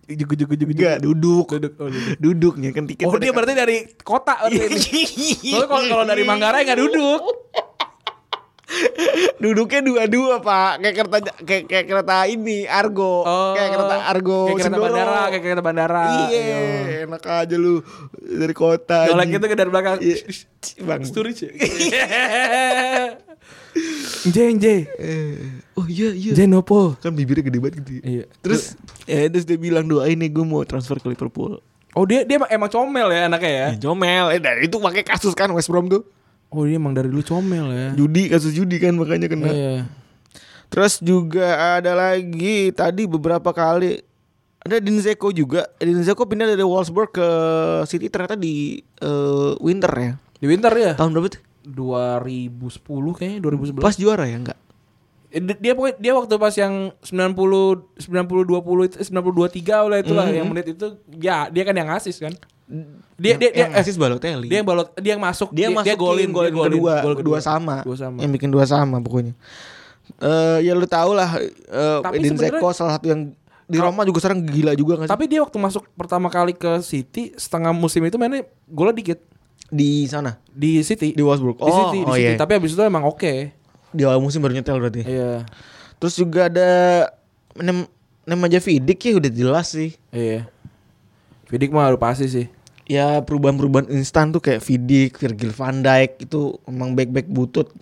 Speaker 2: Jugu jugu jugu jugu.
Speaker 3: enggak duduk
Speaker 2: Duduk. Oh, duduk.
Speaker 3: duduknya kan tiket
Speaker 2: Oh, dia berarti dari kota berarti ini.
Speaker 3: Iya.
Speaker 2: Soalnya kalau kalau dari Manggarai nggak duduk.
Speaker 3: duduknya dua-dua pak kayak kereta kayak, kayak kereta ini argo
Speaker 2: Oh,
Speaker 3: kayak kereta argo
Speaker 2: kayak kereta
Speaker 3: Sindoro.
Speaker 2: bandara, kayak kereta bandara.
Speaker 3: iya enak aja lu dari kota
Speaker 2: Kalau
Speaker 3: anjing.
Speaker 2: gitu ke dari belakang.
Speaker 3: Iya. bang
Speaker 2: Sturridge. ya? Jeng jeng
Speaker 3: Eh, oh iya iya
Speaker 2: jeng nopo.
Speaker 3: kan bibirnya gede banget gitu ya.
Speaker 2: Iya.
Speaker 3: terus eh, terus dia bilang doain nih gue mau transfer ke Liverpool
Speaker 2: Oh dia dia emang- emang comel ya anaknya ya.
Speaker 3: Ya, jomel eh, dari itu pakai kasus kan West Brom tuh
Speaker 2: Oh dia emang dari dulu comel ya.
Speaker 3: judi kasus judi kan makanya kena
Speaker 2: Iya.
Speaker 3: Terus juga ada lagi tadi beberapa kali ada Edin Dzeko juga. Edin Dzeko pindah dari Wolfsburg ke City ternyata di eh, winter ya.
Speaker 2: Di winter ya.
Speaker 3: Tahun berapa tuh?
Speaker 2: 2010 kayaknya 2011.
Speaker 3: Pas juara ya enggak?
Speaker 2: Eh, di- dia pokoknya dia waktu pas yang 90 90 20 itu eh, 92 3 oleh itulah yang menit itu ya dia kan yang asis kan. Dia dia dia
Speaker 3: yang
Speaker 2: eh,
Speaker 3: asis Balotelli.
Speaker 2: dia yang balot dia yang masuk
Speaker 3: dia, masukin
Speaker 2: golin
Speaker 3: gol
Speaker 2: dia golin,
Speaker 3: kedua,
Speaker 2: gol
Speaker 3: kedua sama.
Speaker 2: Dua sama.
Speaker 3: Yang bikin dua sama pokoknya. Eh ya lu tau lah eh,
Speaker 2: Tapi
Speaker 3: Edin
Speaker 2: sebenarnya-
Speaker 3: Dzeko salah satu yang di Roma juga sekarang gila juga kan
Speaker 2: Tapi dia waktu masuk pertama kali ke City setengah musim itu mainnya golnya dikit
Speaker 3: di sana
Speaker 2: di City.
Speaker 3: di Wolfsburg.
Speaker 2: Di City, di
Speaker 3: oh
Speaker 2: City.
Speaker 3: iya.
Speaker 2: Tapi habis itu emang oke.
Speaker 3: Di awal musim baru nyetel berarti.
Speaker 2: Iya.
Speaker 3: Terus juga ada nem aja Vidic ya udah jelas sih.
Speaker 2: Iya. Vidic mah udah pasti sih.
Speaker 3: Ya perubahan-perubahan instan tuh kayak Vidic, Virgil van Dijk itu emang back-back butut.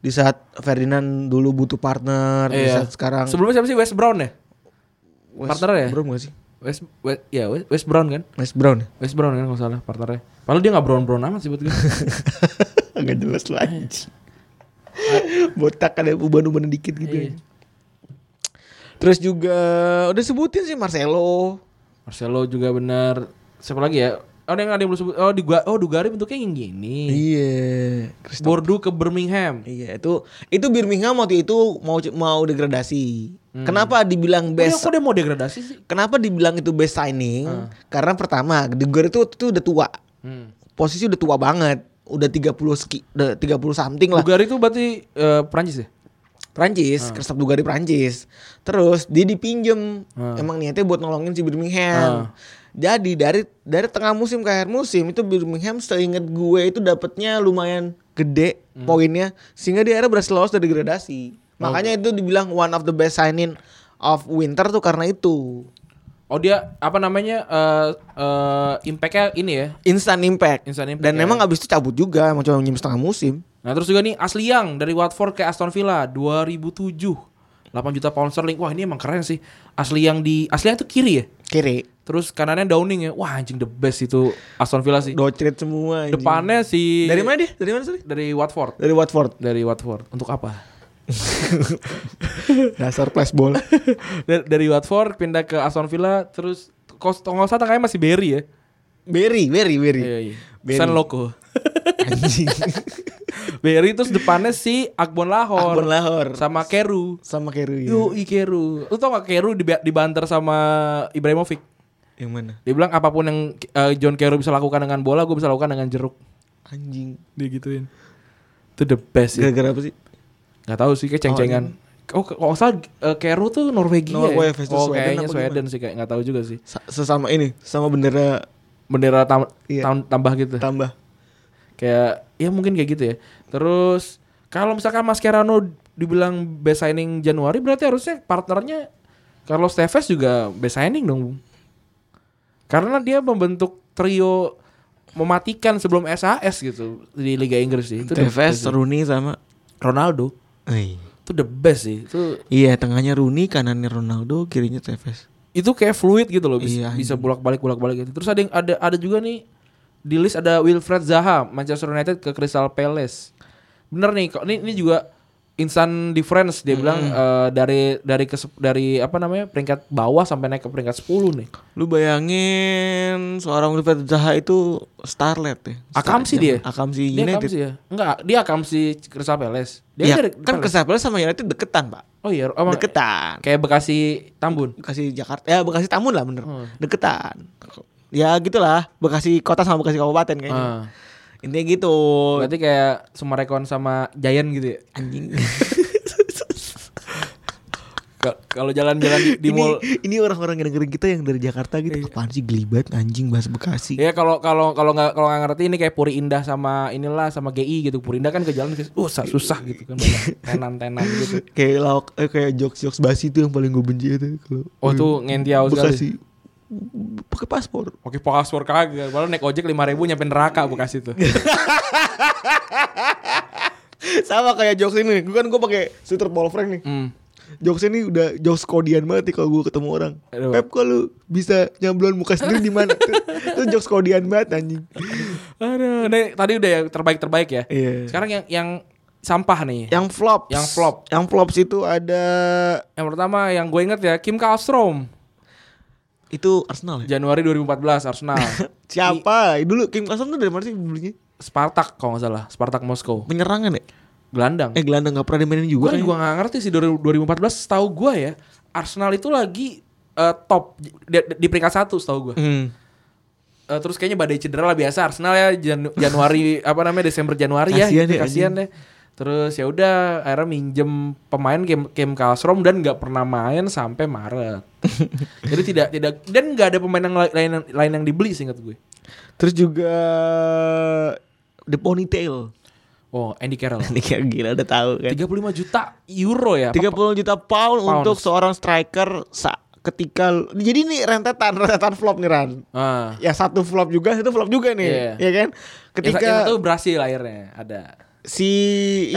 Speaker 3: Di saat Ferdinand dulu butuh partner, di
Speaker 2: Iya.
Speaker 3: saat sekarang
Speaker 2: Sebelumnya siapa sih West Brown ya? partner ya?
Speaker 3: Brown gak sih?
Speaker 2: West, West ya West, West Brown kan?
Speaker 3: West Brown ya?
Speaker 2: West Brown kan kalau salah partnernya. Padahal dia nggak brown brown amat sih buat
Speaker 3: <laughs>
Speaker 2: gue.
Speaker 3: Gak jelas lagi. Botak ada uban-uban dikit gitu. ya. Terus juga udah sebutin sih Marcelo.
Speaker 2: Marcelo juga benar. Siapa lagi ya? Oh, ada yang ada yang belum sebut. Oh, di oh Dugari bentuknya yang gini.
Speaker 3: Iya. Christopher
Speaker 2: Bordeaux ke Birmingham.
Speaker 3: Iya itu itu Birmingham waktu itu mau mau degradasi. Kenapa dibilang
Speaker 2: Best.
Speaker 3: best?
Speaker 2: kok dia mau degradasi sih?
Speaker 3: Kenapa dibilang itu best signing? Karena pertama, De Gea itu waktu itu udah tua.
Speaker 2: Hmm.
Speaker 3: Posisi udah tua banget. Udah 30 seki, udah 30 something lah.
Speaker 2: Dugari itu berarti eh, Prancis ya? Ah.
Speaker 3: Prancis, Christophe Dugari Prancis. Terus dia dipinjem.
Speaker 2: Ah.
Speaker 3: Emang niatnya buat nolongin si Birmingham. Jadi dari dari tengah musim ke akhir musim itu Birmingham seingat gue itu dapatnya lumayan gede
Speaker 2: Hmm.
Speaker 3: poinnya sehingga dia akhirnya berhasil lolos dari degradasi.
Speaker 2: Oh.
Speaker 3: Makanya itu dibilang one of the best signing of winter tuh karena itu.
Speaker 2: Oh dia apa namanya eh eh, impactnya ini ya?
Speaker 3: Instant impact.
Speaker 2: Instant impact,
Speaker 3: Dan
Speaker 2: ya.
Speaker 3: memang abis itu cabut juga, emang cuma minjem setengah musim.
Speaker 2: Nah terus juga nih Asli Young dari Watford ke Aston Villa 2007 8 juta pound sterling. Wah ini emang keren sih. Asli Young di Asli Young itu kiri ya?
Speaker 3: Kiri,
Speaker 2: Terus kanannya Downing ya. Wah anjing the best itu Aston Villa sih.
Speaker 3: docret semua. anjing.
Speaker 2: Depannya si
Speaker 3: Dari mana dia? Dari mana sorry?
Speaker 2: Dari Watford.
Speaker 3: Dari
Speaker 2: <laughs>
Speaker 3: Watford.
Speaker 2: Dari Watford. Untuk
Speaker 3: <laughs>
Speaker 2: apa?
Speaker 3: Dasar
Speaker 2: <laughs>
Speaker 3: flashball.
Speaker 2: dari, dari Watford pindah ke Aston Villa terus kos kalau nggak salah tengahnya masih Berry ya.
Speaker 3: Berry, Berry, Berry.
Speaker 2: Iya iya.
Speaker 3: Berry.
Speaker 2: San
Speaker 3: <laughs>
Speaker 2: Loco.
Speaker 3: Anjing.
Speaker 2: Berry terus depannya si Akbon Lahore.
Speaker 3: Akbon Lahore.
Speaker 2: Sama Keru.
Speaker 3: Sama Keru ya.
Speaker 2: Yo Keru. Lu tau gak Keru diba- dibanter sama Ibrahimovic?
Speaker 3: Yang mana?
Speaker 2: Dia bilang apapun yang eh, John Keru bisa lakukan dengan bola, gue bisa lakukan dengan jeruk.
Speaker 3: Anjing.
Speaker 2: Dia gituin. Itu the best sih.
Speaker 3: Gara-gara apa sih?
Speaker 2: Gak tau sih kayak ceng-cengan. Oh, kalau nggak salah eh, Keru tuh Norwegia. ya?
Speaker 3: Norway iya. versus
Speaker 2: oh,
Speaker 3: Sweden
Speaker 2: kayaknya
Speaker 3: apa
Speaker 2: Sweden sih kayak nggak tahu juga sih.
Speaker 3: Sa- Sesama ini, sama bendera
Speaker 2: Bendera tam-
Speaker 3: Iya.
Speaker 2: tam- tambah gitu.
Speaker 3: tambah.
Speaker 2: Kayak ya mungkin kayak gitu ya. Terus kalau misalkan Mascherano dibilang best signing Januari berarti harusnya partnernya Carlos Tevez juga best signing dong. Bung. Karena dia membentuk trio mematikan sebelum SAS gitu di Liga Inggris sih. Itu
Speaker 3: Tevez, Rooney sama
Speaker 2: Ronaldo.
Speaker 3: Ei.
Speaker 2: Itu Itu the best sih. Itu
Speaker 3: Iya, tengahnya Rooney, kanannya Ronaldo, kirinya Tevez.
Speaker 2: itu kayak fluid gitu loh bisa,
Speaker 3: Iya, anjing.
Speaker 2: bisa bolak-balik bolak-balik gitu. Terus ada yang ada ada juga nih di list ada Wilfred Zaha Manchester United ke Crystal Palace. Bener nih kok ini ini juga instant difference dia bilang eh, dari dari ke, dari apa namanya peringkat bawah sampai naik ke peringkat 10 nih.
Speaker 3: Lu bayangin seorang Wilfred Zaha itu starlet ya.
Speaker 2: Akam sih dia.
Speaker 3: Akam sih
Speaker 2: Dia akam
Speaker 3: Iya, United.
Speaker 2: sih ya? Enggak, dia akam si Crystal Palace. Dia
Speaker 3: Iya,
Speaker 2: dari
Speaker 3: kan Crystal Palace sama United deketan, Pak.
Speaker 2: Oh iya, emang
Speaker 3: Deketan.
Speaker 2: kayak Bekasi Tambun.
Speaker 3: Bekasi Jakarta. Ya, Bekasi Tamun lah bener.
Speaker 2: Hmm.
Speaker 3: Deketan. Ya gitulah, Bekasi kota sama Bekasi kabupaten
Speaker 2: Ah.
Speaker 3: kayaknya. Intinya gitu.
Speaker 2: Berarti kayak Sumarekon sama Giant gitu ya.
Speaker 3: Anjing.
Speaker 2: Ka- Kalau jalan-jalan di, di
Speaker 3: <laughs> ini,
Speaker 2: mall
Speaker 3: ini orang-orang yang dengerin kita yang dari Jakarta gitu. Apaan sih gelibat anjing bahas Bekasi.
Speaker 2: Ya kalau kalau kalau nggak kalau nggak ngerti ini kayak Puri Indah sama inilah sama GI gitu. Puri Indah kan ke jalan ke- susah susah gitu kan tenan-tenan gitu.
Speaker 3: Kayak lauk eh, kayak jokes-jokes basi itu yang paling gue benci itu kalau
Speaker 2: Oh
Speaker 3: Hmm.
Speaker 2: tuh ngentiau sekali.
Speaker 3: Bekasi pakai paspor.
Speaker 2: Oke paspor kagak. Kalau naik ojek 5000 nyampe neraka Bekasi
Speaker 3: <laughs>
Speaker 2: tuh.
Speaker 3: <laughs> Sama kayak jokes ini. Gue kan gue pakai sweater Paul Frank nih.
Speaker 2: Hmm.
Speaker 3: Jokes ini udah jokes kodian banget nih kalau gue ketemu orang.
Speaker 2: Aduh.
Speaker 3: Pep kalau bisa nyambluan muka sendiri di <laughs> mana? Itu- Itu jokes kodian banget anjing.
Speaker 2: Aduh, nih, tadi udah yang terbaik-terbaik ya.
Speaker 3: Iya. Ya.
Speaker 2: Sekarang yang yang sampah nih.
Speaker 3: Yang flops.
Speaker 2: Yang flop.
Speaker 3: Yang flops itu ada
Speaker 2: Yang pertama yang gue inget ya Kim Kallstrom
Speaker 3: itu Arsenal ya?
Speaker 2: Januari 2014
Speaker 3: <laughs>
Speaker 2: Arsenal.
Speaker 3: Siapa? Dulu Kim Kasam tuh dari mana sih dulunya?
Speaker 2: Spartak kalau nggak salah, Spartak Moskow.
Speaker 3: Penyerangan ya?
Speaker 2: Gelandang.
Speaker 3: Eh gelandang gak pernah dimainin
Speaker 2: Gue
Speaker 3: juga kan?
Speaker 2: juga nggak ngerti sih 2014 setahu gue ya Arsenal itu lagi eh, top di, di peringkat satu setahu gue.
Speaker 3: Hmm.
Speaker 2: Eh, terus kayaknya badai cedera lah biasa Arsenal ya Jan- Januari <laughs> apa namanya Desember Januari ya
Speaker 3: Kasian
Speaker 2: gitu,
Speaker 3: ya,
Speaker 2: kasihan deh. Terus ya udah akhirnya minjem pemain game game Kalstrom dan nggak pernah main sampai Maret. Jadi tidak tidak dan nggak ada pemain yang la- lain lain yang dibeli seingat gue.
Speaker 3: Terus juga eh, The Ponytail.
Speaker 2: Oh, Andy Carroll.
Speaker 3: <laughs> Ini kayak gila udah tahu kan.
Speaker 2: 35 juta euro ya.
Speaker 3: 30 juta pound
Speaker 2: Pounds.
Speaker 3: untuk seorang striker sa- ketika jadi ini rentetan <laughs> rentetan flop nih Ran.
Speaker 2: Ah.
Speaker 3: Ya satu flop juga, satu flop juga
Speaker 2: Iya.
Speaker 3: nih. Ya kan?
Speaker 2: Ketika yang,
Speaker 3: Ketika
Speaker 2: satu berhasil akhirnya ada.
Speaker 3: si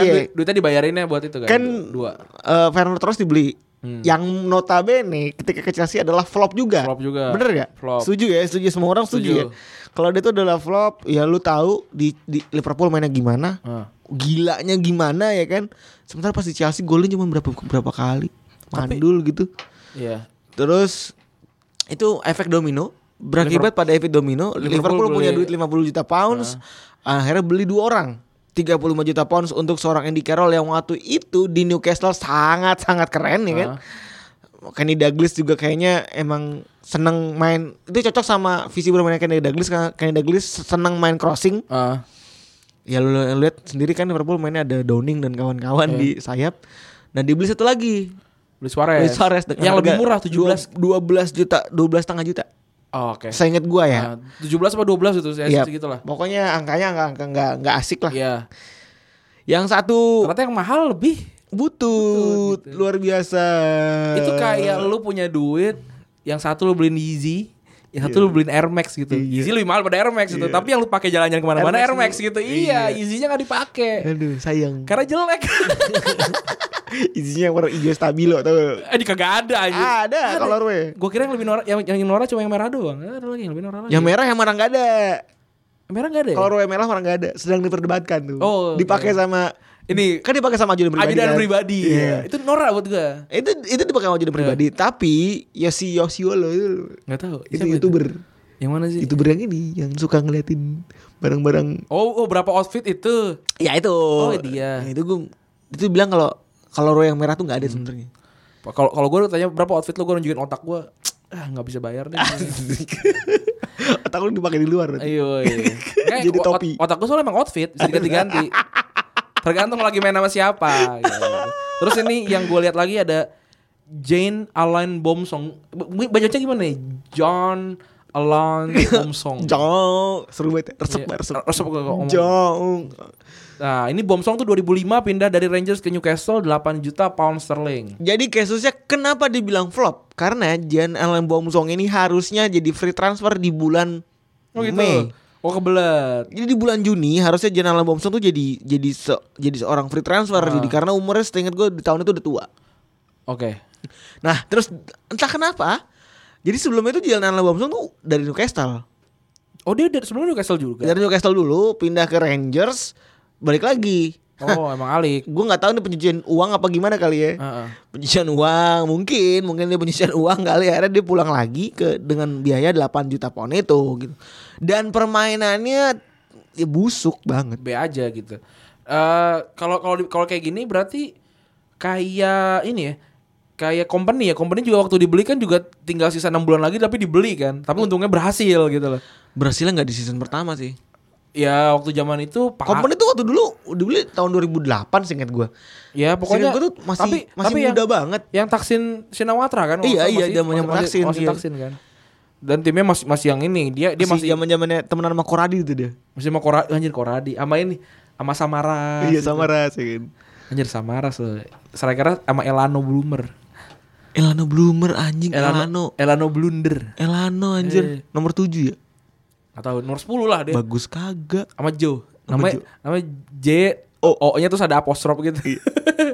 Speaker 2: Kan
Speaker 3: iya,
Speaker 2: duit- duitnya dibayarinnya buat itu kan.
Speaker 3: kan
Speaker 2: du- dua.
Speaker 3: eh, Fernando terus dibeli.
Speaker 2: Hmm.
Speaker 3: Yang notabene ketika ke Chelsea adalah flop juga.
Speaker 2: Flop juga.
Speaker 3: Bener gak?
Speaker 2: Flop.
Speaker 3: Setuju ya, setuju semua orang
Speaker 2: Setuju.
Speaker 3: setuju, ya. Kalau dia itu adalah flop, ya lu tahu di, di Liverpool mainnya gimana,
Speaker 2: Ah.
Speaker 3: gilanya gimana ya kan. Sementara pas di Chelsea golnya cuma berapa berapa kali. Mandul gitu.
Speaker 2: Iya.
Speaker 3: Terus itu efek domino berakibat pada efek domino
Speaker 2: Liverpool
Speaker 3: Liverpool, punya
Speaker 2: beli- Nah.
Speaker 3: duit 50 juta pounds akhirnya beli dua orang 35 juta pounds untuk seorang Andy Carroll yang waktu itu di Newcastle sangat-sangat keren ya kan.
Speaker 2: Nah.
Speaker 3: Kenny Douglas juga kayaknya emang seneng main itu cocok sama visi bermainnya Kenny Douglas karena Kenny Douglas seneng main crossing.
Speaker 2: Ah.
Speaker 3: Ya lu lu lihat sendiri kan Liverpool mainnya ada Downing dan
Speaker 2: Iya.
Speaker 3: kawan-kawan di sayap. Nah dibeli satu lagi
Speaker 2: Luis Suarez.
Speaker 3: Luis Suarez dengan
Speaker 2: yang
Speaker 3: harga
Speaker 2: lebih murah 17.
Speaker 3: 12 juta 12 setengah juta
Speaker 2: Oh, oke.
Speaker 3: saya ingat gua ya
Speaker 2: Ah, 17 apa 12 itu saya
Speaker 3: Iya. Ah.
Speaker 2: segitu lah.
Speaker 3: pokoknya angkanya nggak nggak- nggak nggak asik lah
Speaker 2: Iya.
Speaker 3: yang satu
Speaker 2: Ternyata yang mahal lebih.
Speaker 3: butut luar biasa
Speaker 2: gitu. Itu
Speaker 3: Eh.
Speaker 2: kayak lu punya duit yang satu lu beliin Yeezy, yang
Speaker 3: Iya.
Speaker 2: satu lu beliin Air Max gitu. Yeezy lebih mahal pada Air Max itu, tapi yang lu pakai jalan-jalan kemana mana
Speaker 3: Air
Speaker 2: Air
Speaker 3: Max
Speaker 2: Max
Speaker 3: Iya.
Speaker 2: gitu. Iya, Yeezy-nya nggak dipakai.
Speaker 3: aduh sayang
Speaker 2: Karena jelek.
Speaker 3: <laughs>
Speaker 2: <laughs>
Speaker 3: isinya warna hijau stabilo tau
Speaker 2: eh, di kagak ada aja.
Speaker 3: ada kalau gue
Speaker 2: Gue kira yang lebih norak yang, yang norak cuma yang merah doang. Eh, Ada lagi yang lebih norak lagi.
Speaker 3: yang merah yang mana nggak ada
Speaker 2: merah enggak ada. ya?
Speaker 3: kalau Rowe merah mana nggak ada sedang diperdebatkan tuh
Speaker 2: Oh,
Speaker 3: dipakai
Speaker 2: iya.
Speaker 3: sama
Speaker 2: ini
Speaker 3: kan dipakai sama ajudan pribadi
Speaker 2: ajudan
Speaker 3: kan?
Speaker 2: pribadi.
Speaker 3: Iya.
Speaker 2: Itu norak buat gue.
Speaker 3: itu itu dipakai sama ajudan pribadi tapi Yosi Yosiolo itu
Speaker 2: Enggak tahu.
Speaker 3: itu
Speaker 2: siapa Iya.
Speaker 3: youtuber
Speaker 2: Yang mana sih?
Speaker 3: youtuber yang ini yang suka ngeliatin barang-barang
Speaker 2: Oh, oh, berapa outfit itu?
Speaker 3: Ya itu.
Speaker 2: Oh, dia.
Speaker 3: Ya, itu gue itu bilang kalau kalau roh yang merah tuh nggak ada
Speaker 2: <laughs>
Speaker 3: sebenarnya.
Speaker 2: Kalau kalau gue tanya berapa outfit lo gue nunjukin otak gue. Ah, nggak bisa bayar <laughs> deh.
Speaker 3: Otak lu dipakai di luar. berarti.
Speaker 2: Ayo.
Speaker 3: <laughs>
Speaker 2: iya. Kayak
Speaker 3: Jadi
Speaker 2: ot-
Speaker 3: topi.
Speaker 2: Otak gue soalnya emang outfit bisa
Speaker 3: <laughs>
Speaker 2: diganti-ganti. Tergantung lagi main sama siapa. gitu. Terus ini yang gue lihat lagi ada Jane Alain Bomsong. B- Bacanya gimana nih? John
Speaker 3: <laughs>
Speaker 2: Alain Bomsong.
Speaker 3: Jong, seru banget. ya. Resep
Speaker 2: Iya,
Speaker 3: banget, resep.
Speaker 2: resep gua ngomong.
Speaker 3: Jong.
Speaker 2: Nah, ini Bomsong tuh 2005 pindah dari Rangers ke Newcastle 8 juta pound sterling.
Speaker 3: Jadi kasusnya kenapa dibilang flop? Karena Jan Allen Bomsong ini harusnya jadi free transfer di bulan
Speaker 2: Oh gitu.
Speaker 3: Mei.
Speaker 2: Oh kebelet.
Speaker 3: Jadi di bulan Juni harusnya Jalen Alonso tuh jadi jadi se- jadi seorang free transfer
Speaker 2: Ah.
Speaker 3: jadi karena umurnya setingkat gue di tahun itu udah tua.
Speaker 2: Oke.
Speaker 3: Nah, terus entah kenapa jadi sebelumnya itu Jalen Alonso tuh dari Newcastle.
Speaker 2: Oh dia dari- sebelumnya Newcastle juga.
Speaker 3: Dari Newcastle dulu pindah ke Rangers, balik lagi.
Speaker 2: Oh emang alik.
Speaker 3: Gue nggak tahu nih pencucian uang apa gimana kali ya.
Speaker 2: Heeh.
Speaker 3: Pencucian uang mungkin, mungkin dia pencucian <laughs> uang kali akhirnya dia pulang lagi ke dengan biaya 8 juta pound itu gitu. Dan permainannya ya busuk banget.
Speaker 2: B aja gitu. Eh kalau kalau di- kalau kayak gini berarti kayak ini ya. Kayak company ya, company juga waktu dibeli kan juga tinggal sisa 6 bulan lagi tapi dibeli kan. Tapi untungnya berhasil gitu loh.
Speaker 3: Berhasilnya nggak di season pertama sih.
Speaker 2: Ya waktu zaman itu Pak
Speaker 3: Company tuh waktu dulu dibeli tahun 2008 seingat gua.
Speaker 2: Ya pokoknya
Speaker 3: Seingat gua tuh masih
Speaker 2: tapi,
Speaker 3: masih
Speaker 2: tapi
Speaker 3: muda
Speaker 2: yang,
Speaker 3: banget.
Speaker 2: yang Taksin Sinawatra kan.
Speaker 3: Iya,
Speaker 2: waktu
Speaker 3: iya,
Speaker 2: masih-
Speaker 3: zamannya
Speaker 2: masih-
Speaker 3: Taksin,
Speaker 2: Masih
Speaker 3: iya.
Speaker 2: Taksin kan. Dan timnya masih masih yang ini, dia dia masih masih,
Speaker 3: zaman-zamannya temenan sama Koradi itu dia.
Speaker 2: sama Koradi, anjir Koradi sama ini sama Samara.
Speaker 3: iya sama Ras ya kan.
Speaker 2: Anjir Samaras loh. Striker sama Elano Bloomer.
Speaker 3: Elano Bloomer anjing Elano.
Speaker 2: Elano Blunder.
Speaker 3: Elano anjir nomor 7 ya.
Speaker 2: Atau nomor 10 lah dia.
Speaker 3: Bagus kagak.
Speaker 2: Sama Joe. Namanya namanya J
Speaker 3: Oh.
Speaker 2: O O-nya terus ada apostrof gitu.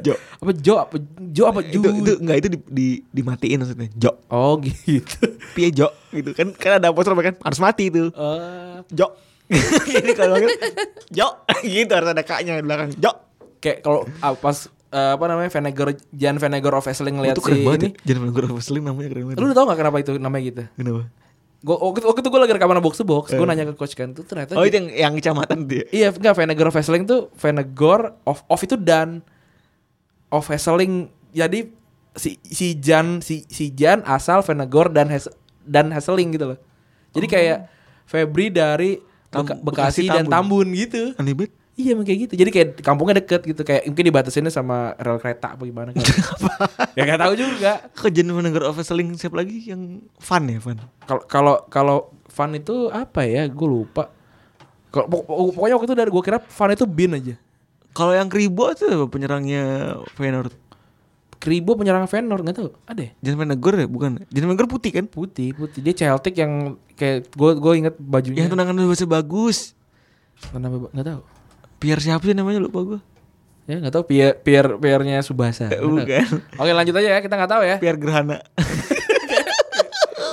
Speaker 3: Jo.
Speaker 2: <laughs> apa Jo apa Jo apa Ju.
Speaker 3: Iya. itu itu enggak itu di, di dimatiin maksudnya. Jo.
Speaker 2: Oh
Speaker 3: <laughs>
Speaker 2: gitu.
Speaker 3: Piye Jo gitu kan kan ada apostrof kan harus mati itu.
Speaker 2: Eh,
Speaker 3: <laughs> Jo. Jadi kalau manggil Jo <laughs> gitu harus ada kaknya di belakang. Jo.
Speaker 2: kayak kalau ah, pas eh, apa namanya Venegar Jan Venegar of Wrestling
Speaker 3: Itu
Speaker 2: ngeliat si
Speaker 3: keren banget.
Speaker 2: ini.
Speaker 3: ya. Jangan menggurau Muslim namanya keren banget.
Speaker 2: Lu tau gak kenapa itu namanya gitu?
Speaker 3: Kenapa?
Speaker 2: Gua, waktu, waktu itu gue lagi rekaman box to box, gue nanya ke coach kan, tuh ternyata
Speaker 3: Eh. Oh
Speaker 2: di-
Speaker 3: itu yang yang kecamatan dia.
Speaker 2: Iya, enggak Venegor of Wrestling tuh Venegor of of itu dan of Wrestling. Jadi si si Jan si si Jan asal Venegor dan Hes, dan Wrestling gitu loh. Jadi kayak Febri dari
Speaker 3: Oh. Tam-
Speaker 2: Beka- Bekasi,
Speaker 3: Bekasi,
Speaker 2: dan
Speaker 3: Tambun.
Speaker 2: Tambun gitu.
Speaker 3: Aneh banget.
Speaker 2: Iya emang kayak gitu. Jadi kayak kampungnya deket gitu kayak mungkin dibatasinnya sama rel kereta apa gimana
Speaker 3: <laughs>
Speaker 2: kan. ya gak tahu juga.
Speaker 3: Kejadian mendengar overselling siapa lagi yang fun ya fun.
Speaker 2: Kalau kalau kalau fun itu apa ya? Gue lupa. Kalau pok- pokoknya waktu itu dari gue kira fun itu bin aja.
Speaker 3: Kalau yang kribo tuh apa penyerangnya Feyenoord.
Speaker 2: Kribo penyerang Feyenoord nggak tahu. Ada ya?
Speaker 3: Jangan Menegor ya bukan. Jangan Menegor putih kan.
Speaker 2: putih putih dia Celtic yang kayak gue gue inget bajunya
Speaker 3: Yang tendangan bebasnya bagus.
Speaker 2: kenapa Ba- nggak tahu
Speaker 3: Pierre siapa sih namanya lupa gua.
Speaker 2: ya nggak tahu pier pier piernya Subasa Nggak tahu.
Speaker 3: bukan.
Speaker 2: oke lanjut aja ya kita nggak tahu ya
Speaker 3: Pierre Gerhana.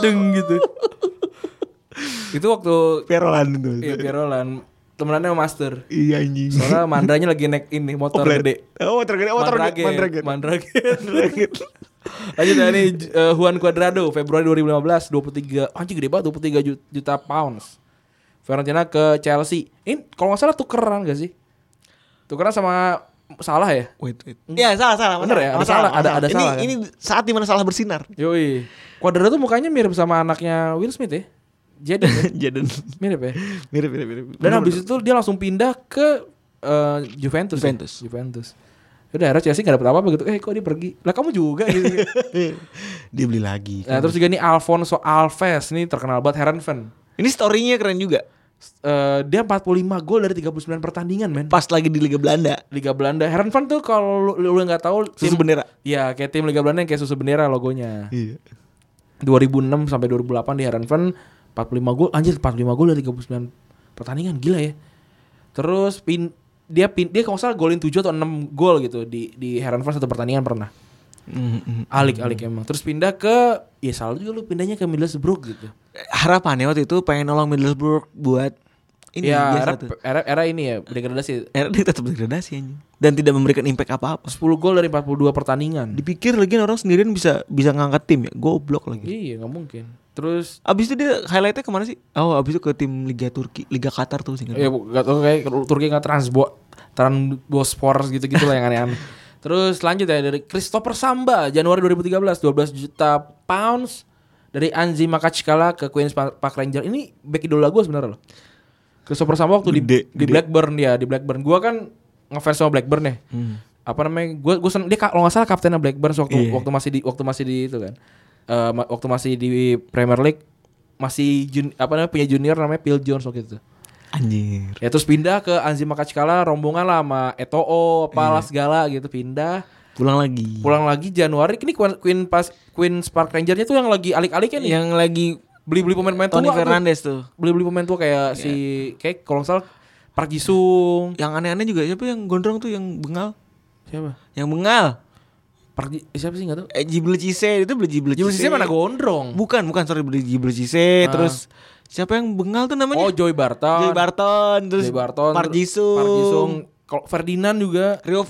Speaker 2: deng gitu <laughs> itu waktu
Speaker 3: <laughs> Pierre Roland itu.
Speaker 2: ya Pierolan temenannya sama Master
Speaker 3: Iya anjing.
Speaker 2: soalnya Mandranya lagi naik ini motor
Speaker 3: Oblede.
Speaker 2: gede
Speaker 3: <laughs> Oh, tergede. Oh, tergede.
Speaker 2: Mandraget
Speaker 3: Mandraget. <laughs>
Speaker 2: Mandraget
Speaker 3: Mandraget.
Speaker 2: lanjut ya ini J- eh, Juan Cuadrado Februari 2015 23 anjing gede banget 23 ju- juta pounds Fiorentina ke Chelsea ini kalau nggak salah tukeran gak sih tukeran sama salah ya
Speaker 3: Wait, wait. Iya, salah, salah.
Speaker 2: Bener ya? Ada salah, ada- ada
Speaker 3: ini,
Speaker 2: salah kan?
Speaker 3: Ini saat dimana salah bersinar. <laughs>
Speaker 2: Yoi. Cuadrado tuh mukanya mirip sama anaknya Will Smith ya. Jaden
Speaker 3: <laughs>
Speaker 2: ya?
Speaker 3: Jaden.
Speaker 2: mirip ya.
Speaker 3: Mirip, mirip, mirip.
Speaker 2: Dan habis itu dia langsung pindah ke eh, Juventus. ya?
Speaker 3: Juventus.
Speaker 2: Juventus. Udah akhirnya Chelsea gak dapet apa-apa gitu. Eh kok dia pergi? Lah kamu juga gitu.
Speaker 3: dia beli lagi.
Speaker 2: nah terus juga nih Alfonso Alves nih terkenal banget Herenfen.
Speaker 3: Ini story-nya keren juga.
Speaker 2: Eh dia 45 gol dari 39 pertandingan men.
Speaker 3: Pas lagi di Liga Belanda.
Speaker 2: Liga Belanda. Herenfen tuh kalau lu, lu nggak tahu tim
Speaker 3: Susu bendera.
Speaker 2: Iya, kayak tim Liga Belanda yang kayak susu bendera logonya.
Speaker 3: Iya.
Speaker 2: 2006 sampai 2008 di Herenfen 45 gol anjir 45 gol dari 39 pertandingan gila ya. Terus pin dia pin dia kalau nggak salah golin 7 atau 6 gol gitu di di Herenfen satu pertandingan pernah.
Speaker 3: Mm,
Speaker 2: Alik alik
Speaker 3: Hmm.
Speaker 2: emang. Terus pindah ke ya salah juga lu pindahnya ke Middlesbrough gitu.
Speaker 3: Harapannya waktu itu pengen nolong Middlesbrough buat ini
Speaker 2: ya
Speaker 3: dia
Speaker 2: era,
Speaker 3: satu.
Speaker 2: era, era ini ya degradasi.
Speaker 3: Era dia tetap degradasi anjing. Dan tidak memberikan impact apa-apa.
Speaker 2: 10 gol dari 42 pertandingan.
Speaker 3: Dipikir lagi orang sendirian bisa bisa ngangkat tim ya. Goblok lagi.
Speaker 2: Iya, nggak mungkin. Terus
Speaker 3: Abis itu dia highlightnya kemana sih? Iya. Oh abis itu ke tim Liga Turki, Liga Qatar tuh singkat.
Speaker 2: Ya bu- gak tau kayak Turki nggak transbo transbospor gitu-gitu lah yang aneh-aneh. <laughs> Terus lanjut ya dari Christopher Samba Januari 2013 12 juta pounds dari Anzi Makachkala ke Queens Pa- Park Ranger. Ini back idola gue sebenarnya loh. Christopher Samba waktu
Speaker 3: Gede,
Speaker 2: di, di
Speaker 3: gede.
Speaker 2: Blackburn dia, di Blackburn. Gua kan ngefans sama Blackburn ya.
Speaker 3: Hmm.
Speaker 2: Apa namanya? Gue gue sen- dia ka- kalau nggak salah kaptennya Blackburn waktu
Speaker 3: Iya.
Speaker 2: waktu masih di waktu masih di itu kan. Eh, ma- waktu masih di Premier League masih jun, apa namanya punya junior namanya Phil Jones waktu itu.
Speaker 3: Anjir.
Speaker 2: Ya terus pindah ke Anzi Makachkala rombongan lah sama Eto'o, apalah segala gitu pindah.
Speaker 3: Pulang lagi.
Speaker 2: Pulang lagi Januari ini Queen, Queen pas Queen Spark Ranger-nya tuh yang lagi alik-aliknya ya nih.
Speaker 3: Yang lagi
Speaker 2: Beli-beli pemain-pemain tua.
Speaker 3: Tony
Speaker 2: tuh.
Speaker 3: Fernandes tuh.
Speaker 2: Beli-beli pemain tua kayak si kayak kalau nggak salah Park Ji Sung.
Speaker 3: Yang aneh-aneh juga siapa yang gondrong tuh yang bengal?
Speaker 2: Siapa?
Speaker 3: Yang bengal.
Speaker 2: Park Ji siapa sih enggak tahu.
Speaker 3: Eh Jibril Cisse itu beli Jibril
Speaker 2: Jibril Cisse
Speaker 3: Cisse.
Speaker 2: mana gondrong?
Speaker 3: Bukan, bukan sorry beli Jibril Cisse
Speaker 2: Ah.
Speaker 3: terus siapa yang bengal
Speaker 2: Oh,
Speaker 3: tuh namanya?
Speaker 2: Joy Barton.
Speaker 3: Joey Barton terus
Speaker 2: Joy Barton.
Speaker 3: Park Ji Sung.
Speaker 2: Park Ji Sung. Kalau Ferdinand juga.
Speaker 3: Rio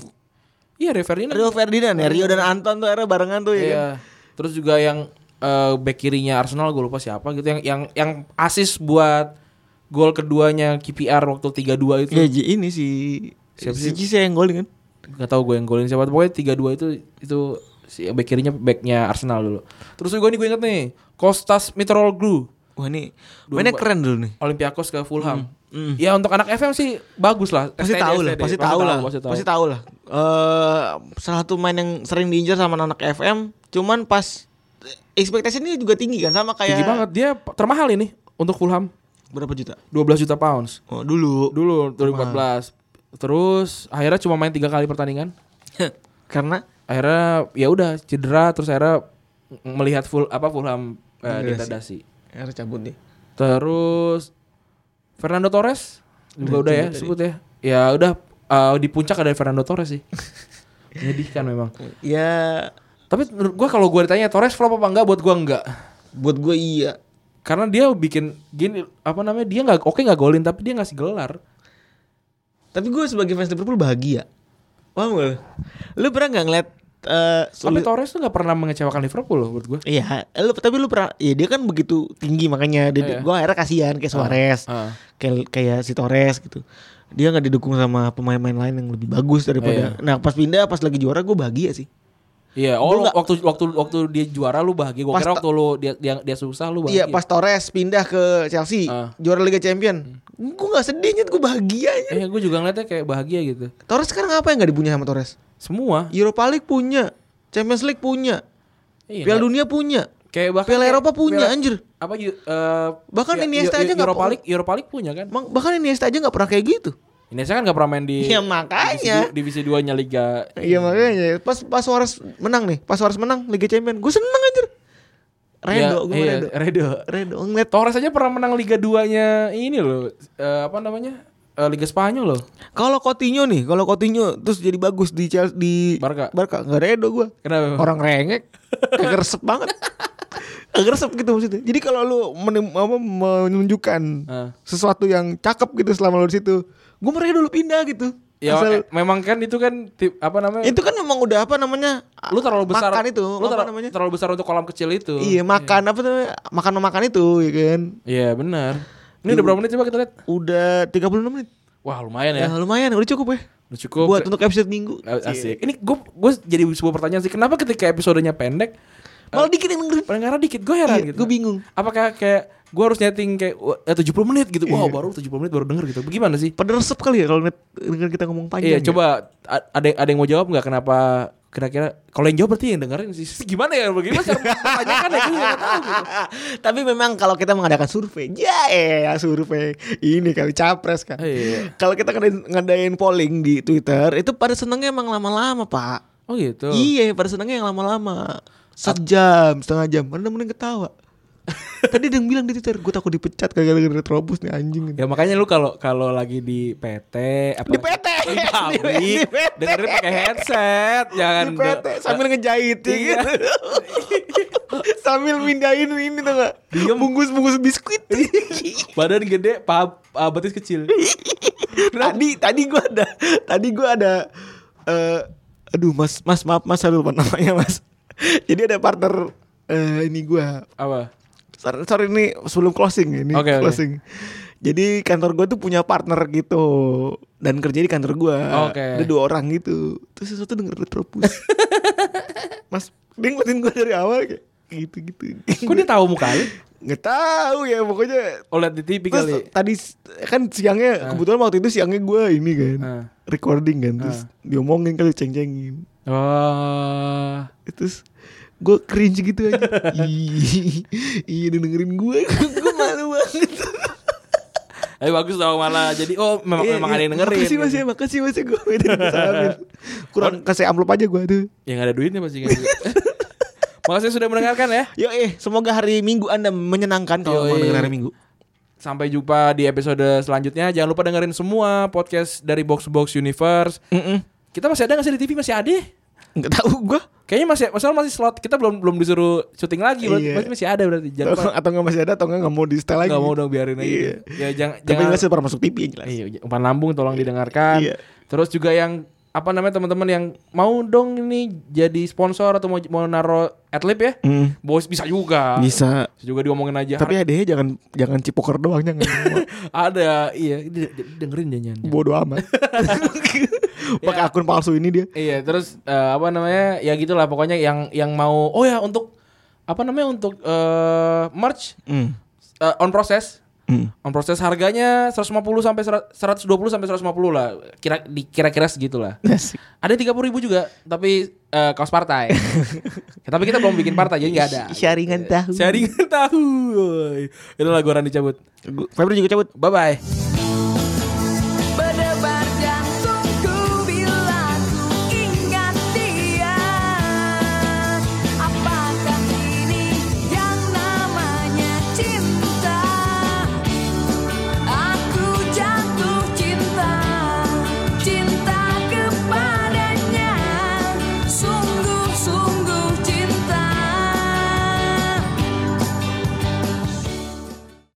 Speaker 2: Iya, Rio Ferdinand.
Speaker 3: Rio Ferdinand ya, Rio dan Anton tuh era barengan tuh ya. kan?
Speaker 2: Iya. Terus juga yang eh, back kirinya Arsenal gue lupa siapa gitu yang yang yang asis buat gol keduanya KPR waktu 3-2 itu.
Speaker 3: Ya Ji, ini si
Speaker 2: Siapa sih?
Speaker 3: si Cisse yang golin kan.
Speaker 2: Gak tau gue yang golin siapa Pokoknya 3-2 itu Itu si back kirinya Backnya Arsenal dulu Terus gue nih gue inget nih Kostas Mitroglou
Speaker 3: Wah ini mainnya keren dulu nih.
Speaker 2: Olympiakos ke Fulham
Speaker 3: Hmm, hmm.
Speaker 2: Ya untuk anak FM sih Bagus lah
Speaker 3: Pasti
Speaker 2: STD,
Speaker 3: tahu lah,
Speaker 2: STD,
Speaker 3: pasti tahu lah,
Speaker 2: Pasti tahu
Speaker 3: pasti tahu lah. Eh salah satu main yang sering diincar sama anak FM, cuman pas ekspektasinya juga tinggi kan sama kayak
Speaker 2: Tinggi banget Dia p- termahal ini Untuk Fulham
Speaker 3: berapa juta?
Speaker 2: 12 juta pounds
Speaker 3: Oh, dulu.
Speaker 2: Dulu 2014 Terus Akhirnya cuma main tiga kali pertandingan
Speaker 3: <laughs> Karena
Speaker 2: Akhirnya ya udah cedera Terus akhirnya m- Melihat full apa Fulham eh,
Speaker 3: Degradasi.
Speaker 2: degradasi
Speaker 3: harus cabut nih.
Speaker 2: Terus Fernando Torres juga udah, ya sebut ya. Ya udah eh, di puncak ada Fernando Torres sih. Menyedihkan memang.
Speaker 3: Ya
Speaker 2: Tapi menurut gua kalau gua ditanya Torres flop apa enggak buat gua enggak.
Speaker 3: buat gue iya.
Speaker 2: Karena dia bikin gini apa namanya? Dia nggak oke nggak golin tapi dia ngasih gelar.
Speaker 3: Tapi gue sebagai fans Liverpool bahagia. Paham gak? lu? Lu pernah nggak ngeliat eh
Speaker 2: Tapi
Speaker 3: sulit?
Speaker 2: Torres tuh nggak pernah mengecewakan Liverpool loh menurut gua.
Speaker 3: Iya, lu tapi lu pernah ya dia kan begitu tinggi makanya dia,
Speaker 2: Iya.
Speaker 3: gua akhirnya kasihan kayak Suarez.
Speaker 2: Ah.
Speaker 3: kayak kayak si Torres gitu dia nggak didukung sama pemain-pemain lain yang lebih
Speaker 2: Ah,
Speaker 3: bagus daripada nah pas pindah pas lagi juara gue bahagia sih
Speaker 2: Iya, oh
Speaker 3: Gua
Speaker 2: lu
Speaker 3: nggak-
Speaker 2: waktu waktu waktu dia juara lu bahagia. Gua
Speaker 3: Pas
Speaker 2: kira
Speaker 3: ta-
Speaker 2: waktu lu dia dia, dia susah lu
Speaker 3: iya
Speaker 2: bahagia.
Speaker 3: pas Torres pindah ke Chelsea
Speaker 2: Ah.
Speaker 3: juara Liga Champion gue nggak sedihnya gue bahagia aja
Speaker 2: Eh, gua juga ngeliatnya kayak bahagia gitu.
Speaker 3: Torres sekarang apa yang nggak dipunya sama Torres
Speaker 2: Semua.
Speaker 3: Europa League punya Champions League punya
Speaker 2: Iya,
Speaker 3: Piala Dunia punya
Speaker 2: kayak bahkan
Speaker 3: Piala
Speaker 2: kayak-
Speaker 3: Eropa punya
Speaker 2: Piala-
Speaker 3: anjir
Speaker 2: apa Yu- eh,
Speaker 3: Bahkan
Speaker 2: Ya-
Speaker 3: Iniesta
Speaker 2: Yu-
Speaker 3: aja nggak
Speaker 2: Europa
Speaker 3: pernah-
Speaker 2: League Europa League punya kan
Speaker 3: Emang- bahkan Iniesta aja nggak pernah kayak gitu
Speaker 2: Iniesta kan nggak pernah main di
Speaker 3: <laughs> Ya, makanya.
Speaker 2: divisi, du- divisi 2 nya Liga
Speaker 3: Iya makanya pas pas Suarez menang nih, pas Suarez menang Liga Champion, gue seneng anjir. Redo,
Speaker 2: Ya,
Speaker 3: gue
Speaker 2: iya,
Speaker 3: redo.
Speaker 2: Redo
Speaker 3: Redo ngeliat
Speaker 2: Torres aja pernah menang Liga 2 nya ini loh eh, apa namanya Eh, Liga Spanyol loh
Speaker 3: Kalau Coutinho nih, kalau Coutinho terus jadi bagus di Chelsea, di
Speaker 2: Barca.
Speaker 3: Barca nggak redo gue.
Speaker 2: kenapa
Speaker 3: Orang rengek, kagak resep <laughs> banget. Kagak resep gitu maksudnya. Jadi kalau lu menem- apa, menunjukkan
Speaker 2: Ah.
Speaker 3: sesuatu yang cakep gitu selama lu di situ, gue meredo lu pindah gitu.
Speaker 2: ya eh,
Speaker 3: Asal-
Speaker 2: memang kan itu kan tip, apa namanya
Speaker 3: itu kan memang udah apa namanya?
Speaker 2: lu terlalu besar
Speaker 3: Makan itu,
Speaker 2: lu
Speaker 3: apa
Speaker 2: terlalu,
Speaker 3: namanya?
Speaker 2: terlalu besar untuk kolam kecil itu
Speaker 3: Iya, makan apa tuh? Makan memakan itu, ya kan.
Speaker 2: iya benar ini udah berapa menit coba kita lihat
Speaker 3: Udah 36 menit.
Speaker 2: wah lumayan ya
Speaker 3: Ya, lumayan, udah cukup ya.
Speaker 2: udah cukup Ah,
Speaker 3: Buat untuk episode minggu. Iya.
Speaker 2: asik ini gue jadi sebuah pertanyaan sih kenapa ketika episodenya pendek
Speaker 3: Malah dikit yang dengerin.
Speaker 2: pendengarnya dikit gue heran
Speaker 3: Iya,
Speaker 2: gitu
Speaker 3: gue bingung.
Speaker 2: apakah kayak gue harus nyeting kayak wah, eh, 70 menit gitu wow
Speaker 3: Iya.
Speaker 2: baru 70 menit baru denger gitu gimana sih
Speaker 3: Pada resep kali ya kalau net- dengerin kita ngomong panjang.
Speaker 2: iya
Speaker 3: ya?
Speaker 2: coba a- ada ada yang mau jawab nggak kenapa kira-kira kalau yang jawab berarti yang dengerin sih <laughs> gimana ya bagaimana cara <laughs> pertanyakan ya gue juga nggak tahu gitu
Speaker 3: Ah, Tapi memang kalau kita mengadakan survei, ya eh survei ini kali capres kan.
Speaker 2: Iya.
Speaker 3: Kalau kita ngadain, ngadain polling di Twitter, itu pada senengnya emang lama-lama pak.
Speaker 2: oh gitu
Speaker 3: Iya, pada senengnya yang lama-lama. Sejam, setengah jam, mana mending <laughs> ketawa. Tadi ada yang bilang di Twitter, gue takut dipecat gara-gara retrobus nih anjing.
Speaker 2: ya makanya lu kalau kalau lagi di PT apa
Speaker 3: Di PT,
Speaker 2: <laughs> di
Speaker 3: di
Speaker 2: pabrik
Speaker 3: PT.
Speaker 2: dengerin pakai headset ya kan? jangan
Speaker 3: Di PT sambil ngejahit ya
Speaker 2: Iya.
Speaker 3: gitu. <laughs> sambil mindahin ini tuh gak? Bungkus-bungkus biskuit.
Speaker 2: badan gede pab ah, betis <laughs> kecil
Speaker 3: <laughs> tadi tadi gua ada tadi gua ada eh aduh Mas Mas maaf Mas saya lupa namanya Mas. <laughs> Jadi ada partner eh ini gua.
Speaker 2: apa
Speaker 3: Sorry, sorry ini sebelum closing ya, ini
Speaker 2: Oke, oke.
Speaker 3: closing. Jadi kantor gua tuh punya partner gitu dan kerja di kantor gua.
Speaker 2: Oke.
Speaker 3: Ada dua orang gitu. Terus sesuatu denger
Speaker 2: <laughs>
Speaker 3: Retropus. Mas dia ngeliatin gua dari awal kayak gitu-gitu.
Speaker 2: kok dia tahu muka lu
Speaker 3: Nggak tahu ya pokoknya
Speaker 2: Oh liat di TV
Speaker 3: Terus
Speaker 2: kali
Speaker 3: tadi s- kan siangnya kebetulan waktu itu siangnya gue ini kan
Speaker 2: Ah.
Speaker 3: recording kan terus diomongin kali ceng-cengin
Speaker 2: Oh
Speaker 3: terus gue cringe gitu
Speaker 2: <laughs>
Speaker 3: aja Ih, iya dia dengerin <laughs> gue gue malu banget
Speaker 2: Eh bagus tau malah jadi oh memang
Speaker 3: Iya,
Speaker 2: memang
Speaker 3: iya.
Speaker 2: ada yang dengerin.
Speaker 3: makasih mas ya makasih mas ya gue <laughs>
Speaker 2: Ya,
Speaker 3: minta disalamin kurang kasih amplop aja gue tuh
Speaker 2: <laughs> Yang ada duitnya pasti kan. Makasih sudah mendengarkan ya.
Speaker 3: Yo eh, semoga hari Minggu Anda menyenangkan
Speaker 2: Yoi.
Speaker 3: kalau mau dengar hari Minggu.
Speaker 2: Sampai jumpa di episode selanjutnya. Jangan lupa dengerin semua podcast dari Box to Box Universe.
Speaker 3: Heeh.
Speaker 2: Kita masih ada nggak sih di TV masih ada?
Speaker 3: Enggak tahu gua.
Speaker 2: Kayaknya masih masalah masih slot. Kita belum belum disuruh syuting lagi berarti
Speaker 3: Iya.
Speaker 2: berarti masih ada berarti. Jangan lupa.
Speaker 3: atau enggak masih ada atau enggak enggak mau di setel lagi.
Speaker 2: Gak mau dong biarin aja.
Speaker 3: Iya.
Speaker 2: Ya jangan
Speaker 3: Tapi
Speaker 2: jangan
Speaker 3: jelas itu pernah masuk TV yang jelas.
Speaker 2: Iya, umpan lambung tolong didengarkan.
Speaker 3: Iya.
Speaker 2: Terus juga yang apa namanya teman-teman yang mau dong ini jadi sponsor atau mau mau naro adlib ya?
Speaker 3: Hmm,
Speaker 2: Bos bisa juga.
Speaker 3: Ah. bisa.
Speaker 2: Bisa Juga diomongin aja.
Speaker 3: Tapi hadiahnya jangan jangan cipoker doang <laughs> jangan.
Speaker 2: ada iya d- d- dengerin janjian.
Speaker 3: Bodoh <laughs> amat. Pakai akun palsu ini dia.
Speaker 2: Iya, terus eh, apa namanya? Ya gitulah pokoknya yang yang mau oh ya untuk apa namanya untuk eh, merch
Speaker 3: Hmm.
Speaker 2: eh, on process
Speaker 3: Hmm.
Speaker 2: on process harganya 150 sampai 100 120 sampai 150 lah. Kira di- kira-kira segitulah.
Speaker 3: Asik.
Speaker 2: Ada 30 ribu juga, tapi eh, kaos
Speaker 3: <laughs>
Speaker 2: partai. tapi kita belum bikin partai jadi nggak ada.
Speaker 3: Sharingan tahu.
Speaker 2: <laughs> Sharingan tahu. Itu lagu orang dicabut.
Speaker 3: Gua- Febri juga cabut.
Speaker 2: Bye bye.